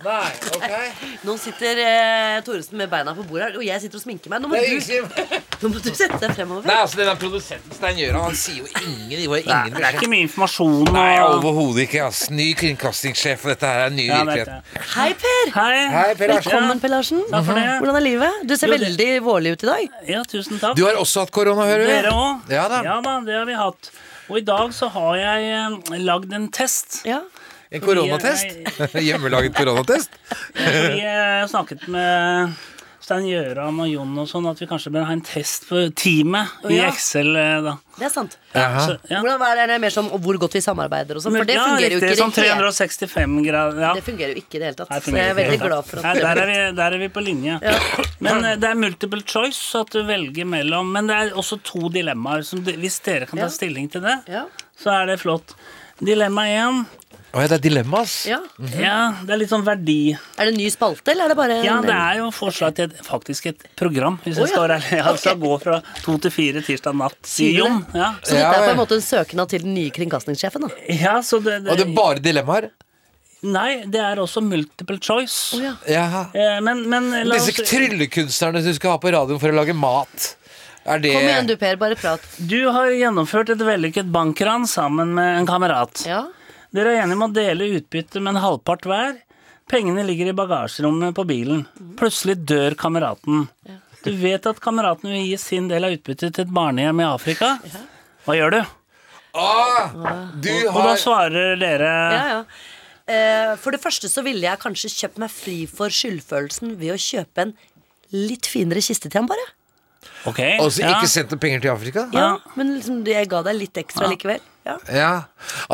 B: Nei, ok.
C: Nå sitter eh, Thoresen med beina på bordet, her, og jeg sitter og sminker meg. Nå må,
B: Det er ingen
C: du,
B: som-
C: nå må du sette deg fremover.
B: Nei, altså den der produsenten Stein Gjøran, han sier jo ingen, det var ingen
I: Det er ikke mye informasjon. og-
B: Nei, overhodet ikke, ass. Ny kringkastingssjef, og dette her er ny
I: Ja, jeg vet
B: virkelighet.
I: det.
C: Hei, Per!
I: Hei.
B: Hei, Per Larsen.
C: Velkommen, Per Larsen.
I: Takk for det.
C: Hvordan er livet? Du ser
I: Jo, det-
C: veldig vårlig ut i dag.
I: Ja, tusen takk.
B: Du har også hatt korona, hører du?
I: Dere òg?
B: Ja da.
I: det har vi hatt. Og i dag så har jeg eh, lagd en test.
C: Ja.
B: En koronatest? Hjemmelaget koronatest?
I: Vi eh, snakket med Stein Gjøran og Jon og sånn at vi kanskje bør ha en test på teamet i
C: ja.
I: Excel. eh, da.
C: Det er sant.
I: Så, ja.
C: Hvordan er det, er det mer som og hvor godt vi samarbeider og sånn? For det
I: Ja,
C: fungerer jo ikke
I: riktig,
C: i
I: Sånn
C: det hele
I: 365 grader. Ja.
C: Det fungerer jo ikke i det hele tatt.
I: Nei,
C: Så jeg er veldig
I: fungerer
C: glad
I: ikke.
C: for
I: Nei,
C: at
I: der, er vi, der er vi på linje. Men eh, det er multiple choice, så at du velger mellom Men det er også to dilemmaer. Som de, hvis dere kan
C: Ja.
I: ta stilling til det,
C: Ja.
I: så er det flott. Dilemma én.
B: Å ja, det er dilemma, ass.
C: Ja.
I: Ja, det er litt sånn verdi.
C: Er det en ny spalte, eller er det bare
I: Ja,
C: en-
I: det er jo forslag til et, faktisk et program, hvis
C: Å,
I: jeg
C: ja.
I: står ærlig. Ja, altså gå fra to til fire tirsdag natt.
C: Sier du
I: Jon.
C: det?
I: Ja.
C: Så dette er
B: Ja,
C: på
B: ja.
C: en måte en søknad til den nye kringkastingssjefen, da.
I: ja, så det,
B: Og det er
I: det
B: bare dilemmaer?
I: Nei, det er også multiple choice.
C: Å, ja.
B: Jaha.
I: Eh, Men, men la
B: Disse
I: oss
B: tryllekunstnerne du skal ha på radioen for å lage mat, er det
C: Kom igjen du, Per. Bare prat.
I: Du har gjennomført et vellykket bankran sammen med en kamerat.
C: Ja.
I: Dere er enige om å dele utbyttet med en halvpart hver. Pengene ligger i bagasjerommet på bilen. Plutselig dør kameraten. Du vet at kameraten vil gi sin del av utbyttet til et barnehjem i Afrika. Hva gjør du?
B: Ah, du
I: Og da
B: har
I: svarer dere
C: Ja, ja. Eh, For det første så ville jeg kanskje kjøpt meg fri for skyldfølelsen ved å kjøpe en litt finere kiste til ham, bare.
I: ok.
B: altså
I: ja.
B: ikke sendt noen penger til Afrika?
C: Ja, Men liksom, jeg ga deg litt ekstra likevel. Ja.
B: Ja.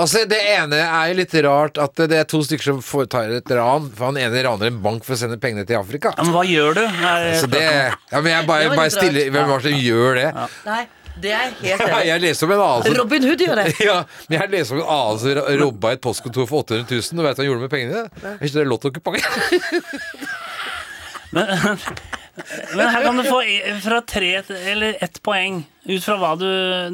B: Altså, det ene er jo litt rart at det er to stykker som foretar et ran, for han ene raner en bank for å sende pengene til Afrika.
I: Ja, men hva gjør du? Nei,
B: Så det Ja, men jeg
C: Det
B: bare, bare
C: var litt rart.
B: stiller Hvem var det som gjør det?
C: Nei, det er jeg helt enig.
B: Jeg leste om en annen som
C: Robin Hood gjør det.
B: ja, men jeg leste om en annen som ra- robba et postkontor for 800 000. Og vet du hva han gjorde med pengene? Ikke det er lottokuponger?
I: Men her kan du få i- fra tre til- eller ett poeng ut fra hva du,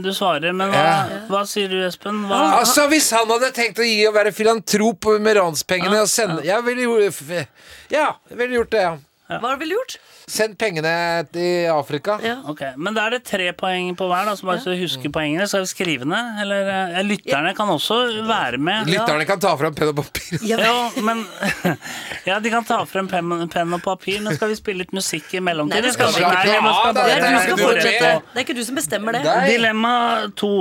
I: du svarer. Men hva, hva sier du, Espen? Hva,
B: Altså, Hvis han hadde tenkt å gi å være filantrop med ranspengene og sende Jeg ville gjort, f- ja, jeg ville gjort det, ja.
C: Hva har du vel gjort?
B: Send pengene til Afrika.
C: Ja.
I: Ok, Men da er det tre poeng på hver, da, så bare så du husker poengene. Så er vi skrivende. Eller eh, lytterne kan også være med.
B: Lytterne kan ta fram penn og papir.
I: Jo, men Ja, de kan ta frem penn penn og papir, men skal vi spille litt musikk i mellomtiden?
C: Nei, det skal vi
B: ikke.
I: vi må-
B: Ja, da,
C: Det er, du
B: Nei,
C: skal
B: du er
C: fortsette.
B: redd.
C: det er ikke du som bestemmer det.
B: Nei.
I: Dilemma to.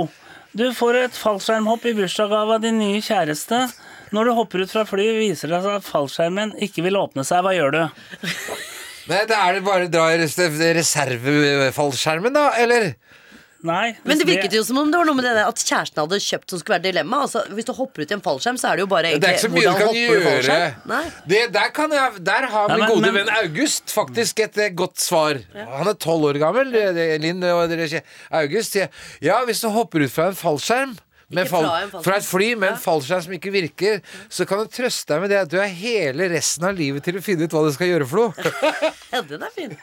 I: Du får et fallskjermhopp i bursdagsgave av din nye kjæreste. Når du hopper ut fra flyet, viser det seg at fallskjermen ikke vil åpne seg. Hva gjør du?
B: Nei, da er det bare å dra i res- reservefallskjermen, da, eller?
I: Nei.
C: Men det virket jo som om det var noe med det der at kjæresten hadde kjøpt som skulle være dilemma. Altså, hvis du hopper ut i en fallskjerm, så er det jo bare
B: Det er ikke
C: egentlig
B: så mye du kan
C: i
B: gjøre.
C: fallskjerm. Nei.
B: Det, der, kan jeg, der har
I: Nei,
B: min
I: men-
B: gode
I: men-
B: venn August faktisk et eh, godt svar. Han er tolv år gammel, eh, det- Linn og dere kje- August sier ja, hvis du hopper ut fra en fallskjerm med
C: Ikke
B: fall,
C: fra en fallskjerm.
B: fra et fly med en fallskjerm som ikke virker, så kan du trøste deg med det at du har hele resten av livet til å finne ut hva du skal gjøre for noe.
C: Ja, den er fin.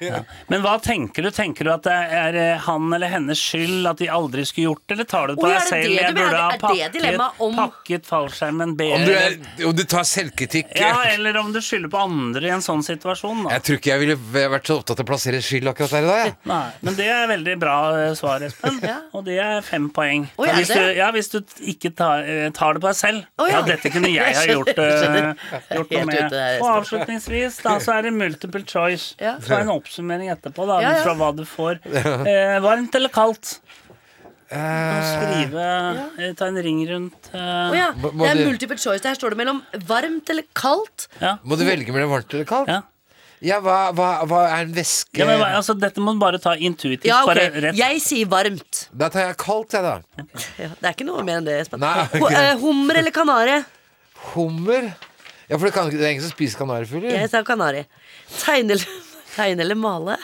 I: Men hva tenker du? Tenker du at det er eh, han eller hennes skyld at de aldri skulle gjort det, eller tar du det på
C: Oi, er
I: deg
C: det
I: selv?
C: det du
I: Jeg
C: mener?
I: burde ha
C: Er det dilemma
I: pakket,
C: om-
I: pakket fallskjermen
B: Om du,
I: bedre.
B: er, om du tar selvkritikk
I: Ja, eller om du skylder på andre i en sånn situasjon. Da.
B: Jeg tror ikke jeg ville vært så opptatt av å plassere skyld akkurat der i dag. jeg.
I: Nei, men det er veldig bra eh, svar, Espen. Og det er fem poeng.
C: Oi, er
I: hvis,
C: det?
I: du, ja, hvis du ikke tar, eh, tar det på deg selv.
C: Å, ja.
I: ja. dette kunne jeg ha
C: Jeg
I: gjort,
C: skjønner,
I: eh, gjort noe
C: Helt ute
I: med.
C: der, Espen.
I: Og avslutningsvis, da, så er det multiple choice.
C: Ja.
I: Så er det en oppsummering etterpå, da,
C: Ja, ja.
I: fra hva du får. Eh, varmt eller kaldt? Du må skrive eh, Ta en ring rundt eh,
C: Å ja,
B: Må- må
C: det er
B: du-
C: multiple choice. Der står det mellom varmt eller kaldt.
I: ja.
B: Må du velge mellom varmt eller kaldt?
I: Ja.
B: Ja, hva, hva, hva er en væske
I: Ja, men, hva- altså, dette må du bare ta intuitivt.
C: Ja, ok.
I: Bare rett
C: Jeg sier varmt.
B: Da tar jeg kaldt, jeg, da.
C: Ja, det er ikke noe mer enn det, Espen.
B: Nei, ok.
C: Ho- eh, Hummer eller kanari?
B: Hummer. Ja, for det, kan, ikke- det er ingen som spiser kanarifugler.
C: Jeg sa kanari. Tegne eller, tegne eller male?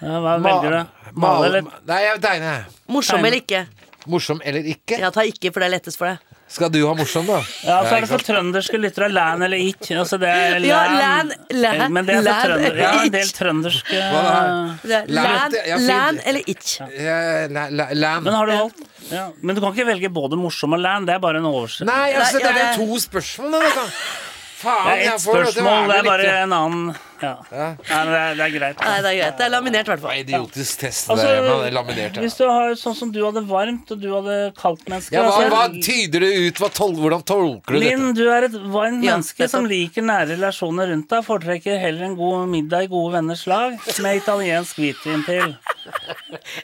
I: ja, Hva velger du? Male eller
B: Nei, jeg tegner.
C: Morsom
I: Tegne.
C: eller ikke?
B: Morsom eller ikke?
C: Ja, ta ikke, for det er lettest for deg.
B: Skal du ha morsom, da?
I: Ja, så er det sånn- for trønderske lyttere land eller ikke. Altså det er land.
C: Ja, land, land,
I: Men det er for
C: land
I: trønder. Ja, en del
C: ikke.
I: trønderske
B: Hva
C: Det er
B: Land,
C: Land,
B: ja, fint.
C: land eller itch.
B: Eh, la- la- Lam.
I: Men har du valgt? Ja. Men du kan ikke velge både morsom og land. Det er bare en oversikt.
B: Nei, altså, det
C: Nei,
B: er
C: jeg-
B: jo to spørsmål, da. da. Faen,
I: Det er
B: jeg
I: ett
B: får det til å være
I: spørsmål, det er
B: litt-
I: bare en annen Ja. Nei, men det, er, det er greit.
C: Nei, det er greit. Det er laminert, i hvert
B: Det var
C: fall.
B: idiotisk test, det
I: Altså,
B: der. Man er laminert. Ja.
I: Hvis du har sånn som du hadde varmt, og du hadde kaldt menneske
B: Ja, hva,
I: altså,
B: hva tyder det ut? Hva tol hvordan tolker du dette?
I: Linn, du er et varmt
C: Ja,
I: menneske som
C: nettopp.
I: liker nære relasjoner rundt deg. Foretrekker heller en god middag i gode venners lag med italiensk hvitvin til.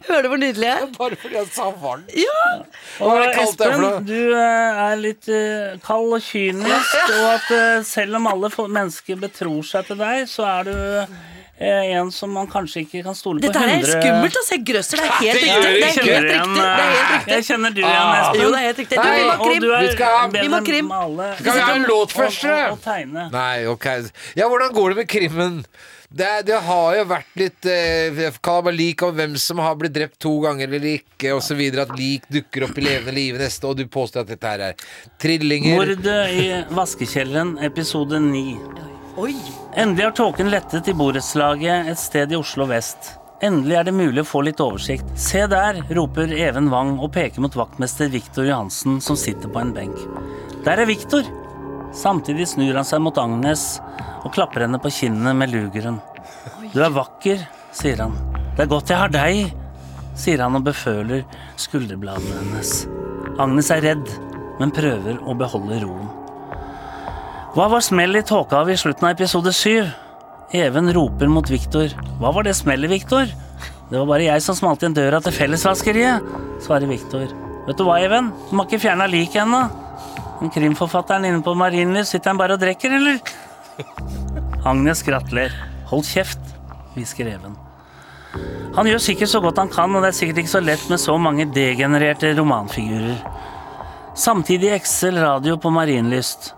C: Hører du hvor nydelig jeg er?
B: Bare fordi jeg sa varmt. Hva
I: Og
B: er det kalt det for
I: Espen,
B: noe?
I: du eh, er litt eh, kald og kynisk, og at eh, selv om alle fo- mennesker betror seg til deg, så er du eh, en som man kanskje ikke kan stole på
C: Dette her er
I: 100
C: skummelt, altså. Jeg grøsser. Det er helt
B: Det gjør
C: riktig. Det
I: Jeg
C: er helt
I: kjenner igjen,
C: riktig. Det er helt
I: eh,
C: riktig.
I: Jeg kjenner du igjen, Espen.
C: Jo, det er helt riktig. Du, vi
B: Nei,
C: må ha
I: og du
C: krim.
I: er
B: Ah. Vi skal ha-
I: bedre
C: Vi må ha
I: enn
C: krim.
I: alle.
B: Skal vi ha en låt først,
I: Og,
B: eller?
I: og, og tegne.
B: Nei, ok. Ja, hvordan går det med krimmen? Det, det har jo vært litt eh, kalabalik om hvem som har blitt drept to ganger eller ikke, osv. At lik dukker opp i levende live neste, og du påstår at dette her er trillinger.
I: Mordet i vaskekjelleren, episode 9.
C: Oi.
I: Endelig har tåken lettet i borettslaget et sted i Oslo vest. Endelig er det mulig å få litt oversikt. Se der, roper Even Wang og peker mot vaktmester Viktor Johansen, som sitter på en benk. Der er Viktor! Samtidig snur han seg mot Agnes og klapper henne på kinnene med lugeren. Du er vakker, sier han. Det er godt jeg har deg, sier han og beføler skulderbladene hennes. Agnes er redd, men prøver å beholde roen. Hva var smellet i tåka av i slutten av episode syv? Even roper mot Viktor. Hva var det smellet, Viktor? Det var bare jeg som smalt igjen døra til fellesvaskeriet, svarer Viktor. Vet du hva, Even? Du må ikke fjerne liket ennå. Men krimforfatteren inne på Marienlyst, sitter han bare og drikker, eller? Agnes gratler. Hold kjeft, hvisker Even. Han gjør sikkert så godt han kan, og det er sikkert ikke så lett med så mange degenererte romanfigurer. Samtidig i Excel radio på Marienlyst.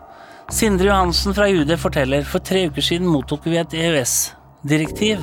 I: Sindre Johansen fra UD forteller for tre uker siden mottok vi et EØS-direktiv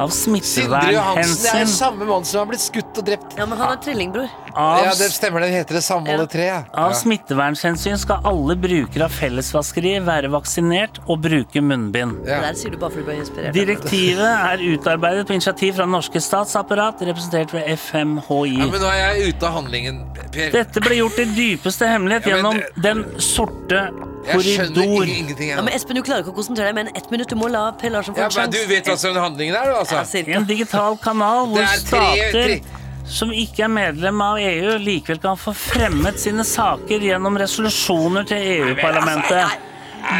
I: av
B: Sindre Johansen det er jo
I: smittevernhensyn
B: samme mann som har blitt skutt og drept.
C: Ja, men han er trillingbror.
I: av
B: Ja, det stemmer, det heter det samme, alle tre. ja.
I: Av
B: Ja.
I: smittevernhensyn skal alle brukere av fellesvaskeri være vaksinert og bruke munnbind.
B: Ja.
C: Det der sier du bare fordi du ble inspirert.
I: Direktivet er utarbeidet på initiativ fra norske statsapparat, representert ved
B: Ja,
I: FMHI.
B: men nå er jeg ute av handlingen, Per.
I: Dette ble gjort i dypeste hemmelighet
B: Ja, men
I: gjennom
B: det-
I: Den sorte
B: Jeg skjønner
I: korridor.
B: ing- ingenting.
C: Ja,
B: Jeg,
C: men
B: nå.
C: Espen, du klarer ikke å konsentrere deg mer enn ett minutt. Du må la Per Larsen få
B: ja,
C: en
B: men du
C: sjanse.
B: vet hva som er handlingen er, du,
C: Ja,
B: altså?
C: cirka.
I: En digital kanal hvor
B: Det er tre-
I: stater
B: tre-
I: som ikke er medlem av EU, likevel kan få fremmet sine saker gjennom resolusjoner til
B: altså,
I: EU-parlamentet.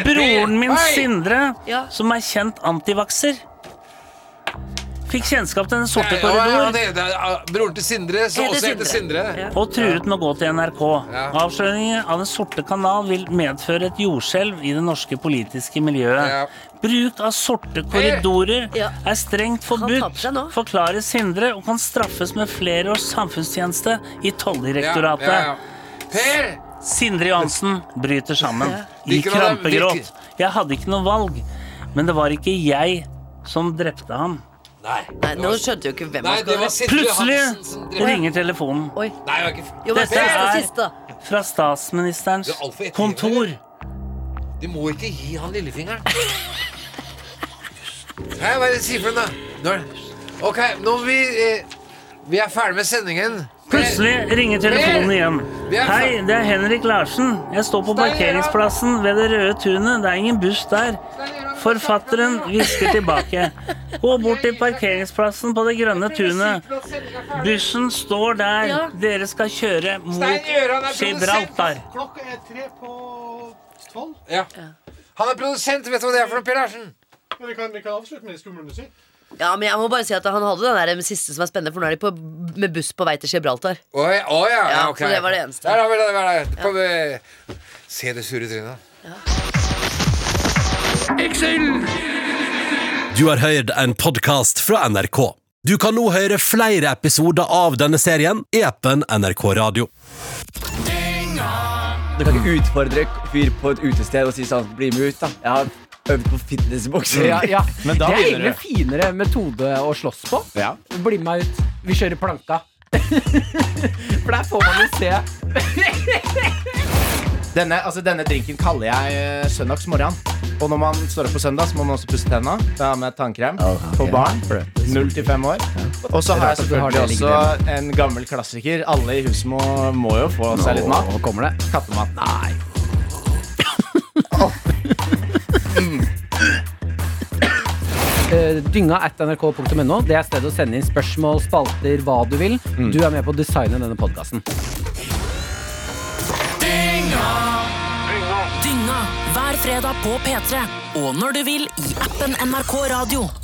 I: Broren min
B: Hei!
I: Sindre,
C: Ja.
I: som er kjent antivakser, fikk kjennskap til Den sorte
B: Nei, ja, ja,
I: korridor
B: det- det er- Broren til Sindre, som
C: Heter
B: også heter
C: Sindre.
B: Sindre.
C: Ja.
I: og truet med å gå til NRK.
B: Ja.
I: Avsløringen av Den sorte kanal vil medføre et jordskjelv i det norske politiske miljøet.
B: Ja.
I: Bruk av sorte korridorer
C: Ja.
I: er strengt
C: Han tapte seg nå.
I: forbudt, forklarer Sindre, og kan straffes med flere års samfunnstjeneste i
B: Ja, ja,
I: Tolldirektoratet.
B: ja. Per!
I: Sindre Johansen bryter sammen i
B: Hvilken av dem-
I: krampegråt.
B: hvilken-
I: Jeg hadde ikke noe valg, men det var ikke jeg som drepte ham.
B: Nei.
C: Nei, nå skjønte jo ikke hvem
B: Nei,
C: han
B: det
C: skulle
B: var Sindre
I: Plutselig
B: Johansen som drepte
I: ringer telefonen.
B: Nei,
C: Oi.
B: det var ikke
C: Jo, men
I: Dette
C: siste,
I: er-
C: siste, da.
I: fra statsministerens
B: Det er alt for ettergivende.
I: kontor.
B: Du må ikke gi han lillefingeren. Hei, hva er det du sier for noe? Nå er det. Ok, nå vi, eh, vi er ferdig med sendingen.
I: Plutselig ringer telefonen
B: Per!
I: igjen.
B: Vi er
I: Hei, det er Henrik Larsen. Jeg står på parkeringsplassen ved det røde tunet. Det er ingen buss der. Forfatteren hvisker tilbake. Gå bort til parkeringsplassen på det grønne tunet. Bussen står der. Dere skal kjøre mot Gibraltar.
B: Klokka er tre på tolv. Ja. Han er produsent, vet du hva det er for noe, Per Larsen?
J: Men vi kan, vi kan avslutte med skummel musikk.
C: Ja, men jeg må bare si at han hadde den der siste som er spennende, for nå er de på, med buss på vei til Gibraltar.
B: Å ja, å, ja,
C: Ja,
B: ok.
C: så det var det eneste.
B: Der har vi det, der var det. Kom, eh, Se det sure trynet.
K: Du har hørt en podcast fra NRK. Du kan nå høre flere episoder av denne serien i appen NRK Radio.
J: Du kan ikke utfordre fyr på et utested og si sånn Bli med ut, da. Jeg har øvd på fitnessboksing. Ja, ja.
E: Men da
J: Det er
E: begynner
J: egentlig
E: du.
J: finere metode å slåss på.
E: Ja.
J: Bli med meg ut. Vi kjører planka. For der får man jo se. Denne, drinken kaller jeg eh, søndagsmorgen. Og når man står opp på søndag, så må man også pusse tenna. Da har jeg med tannkrem på barn. Null til fem år. Og så har jeg selvfølgelig også en gammel klassiker. Alle i huset må, må jo få seg litt mat. kommer det. Kattemat. Nei. Eh, Dynga at nrk.no. Det er stedet å sende inn spørsmål, spalter, hva du vil. Du er med på å designe denne podkasten.
A: Dynga hver fredag på P3 og når du vil i appen NRK Radio.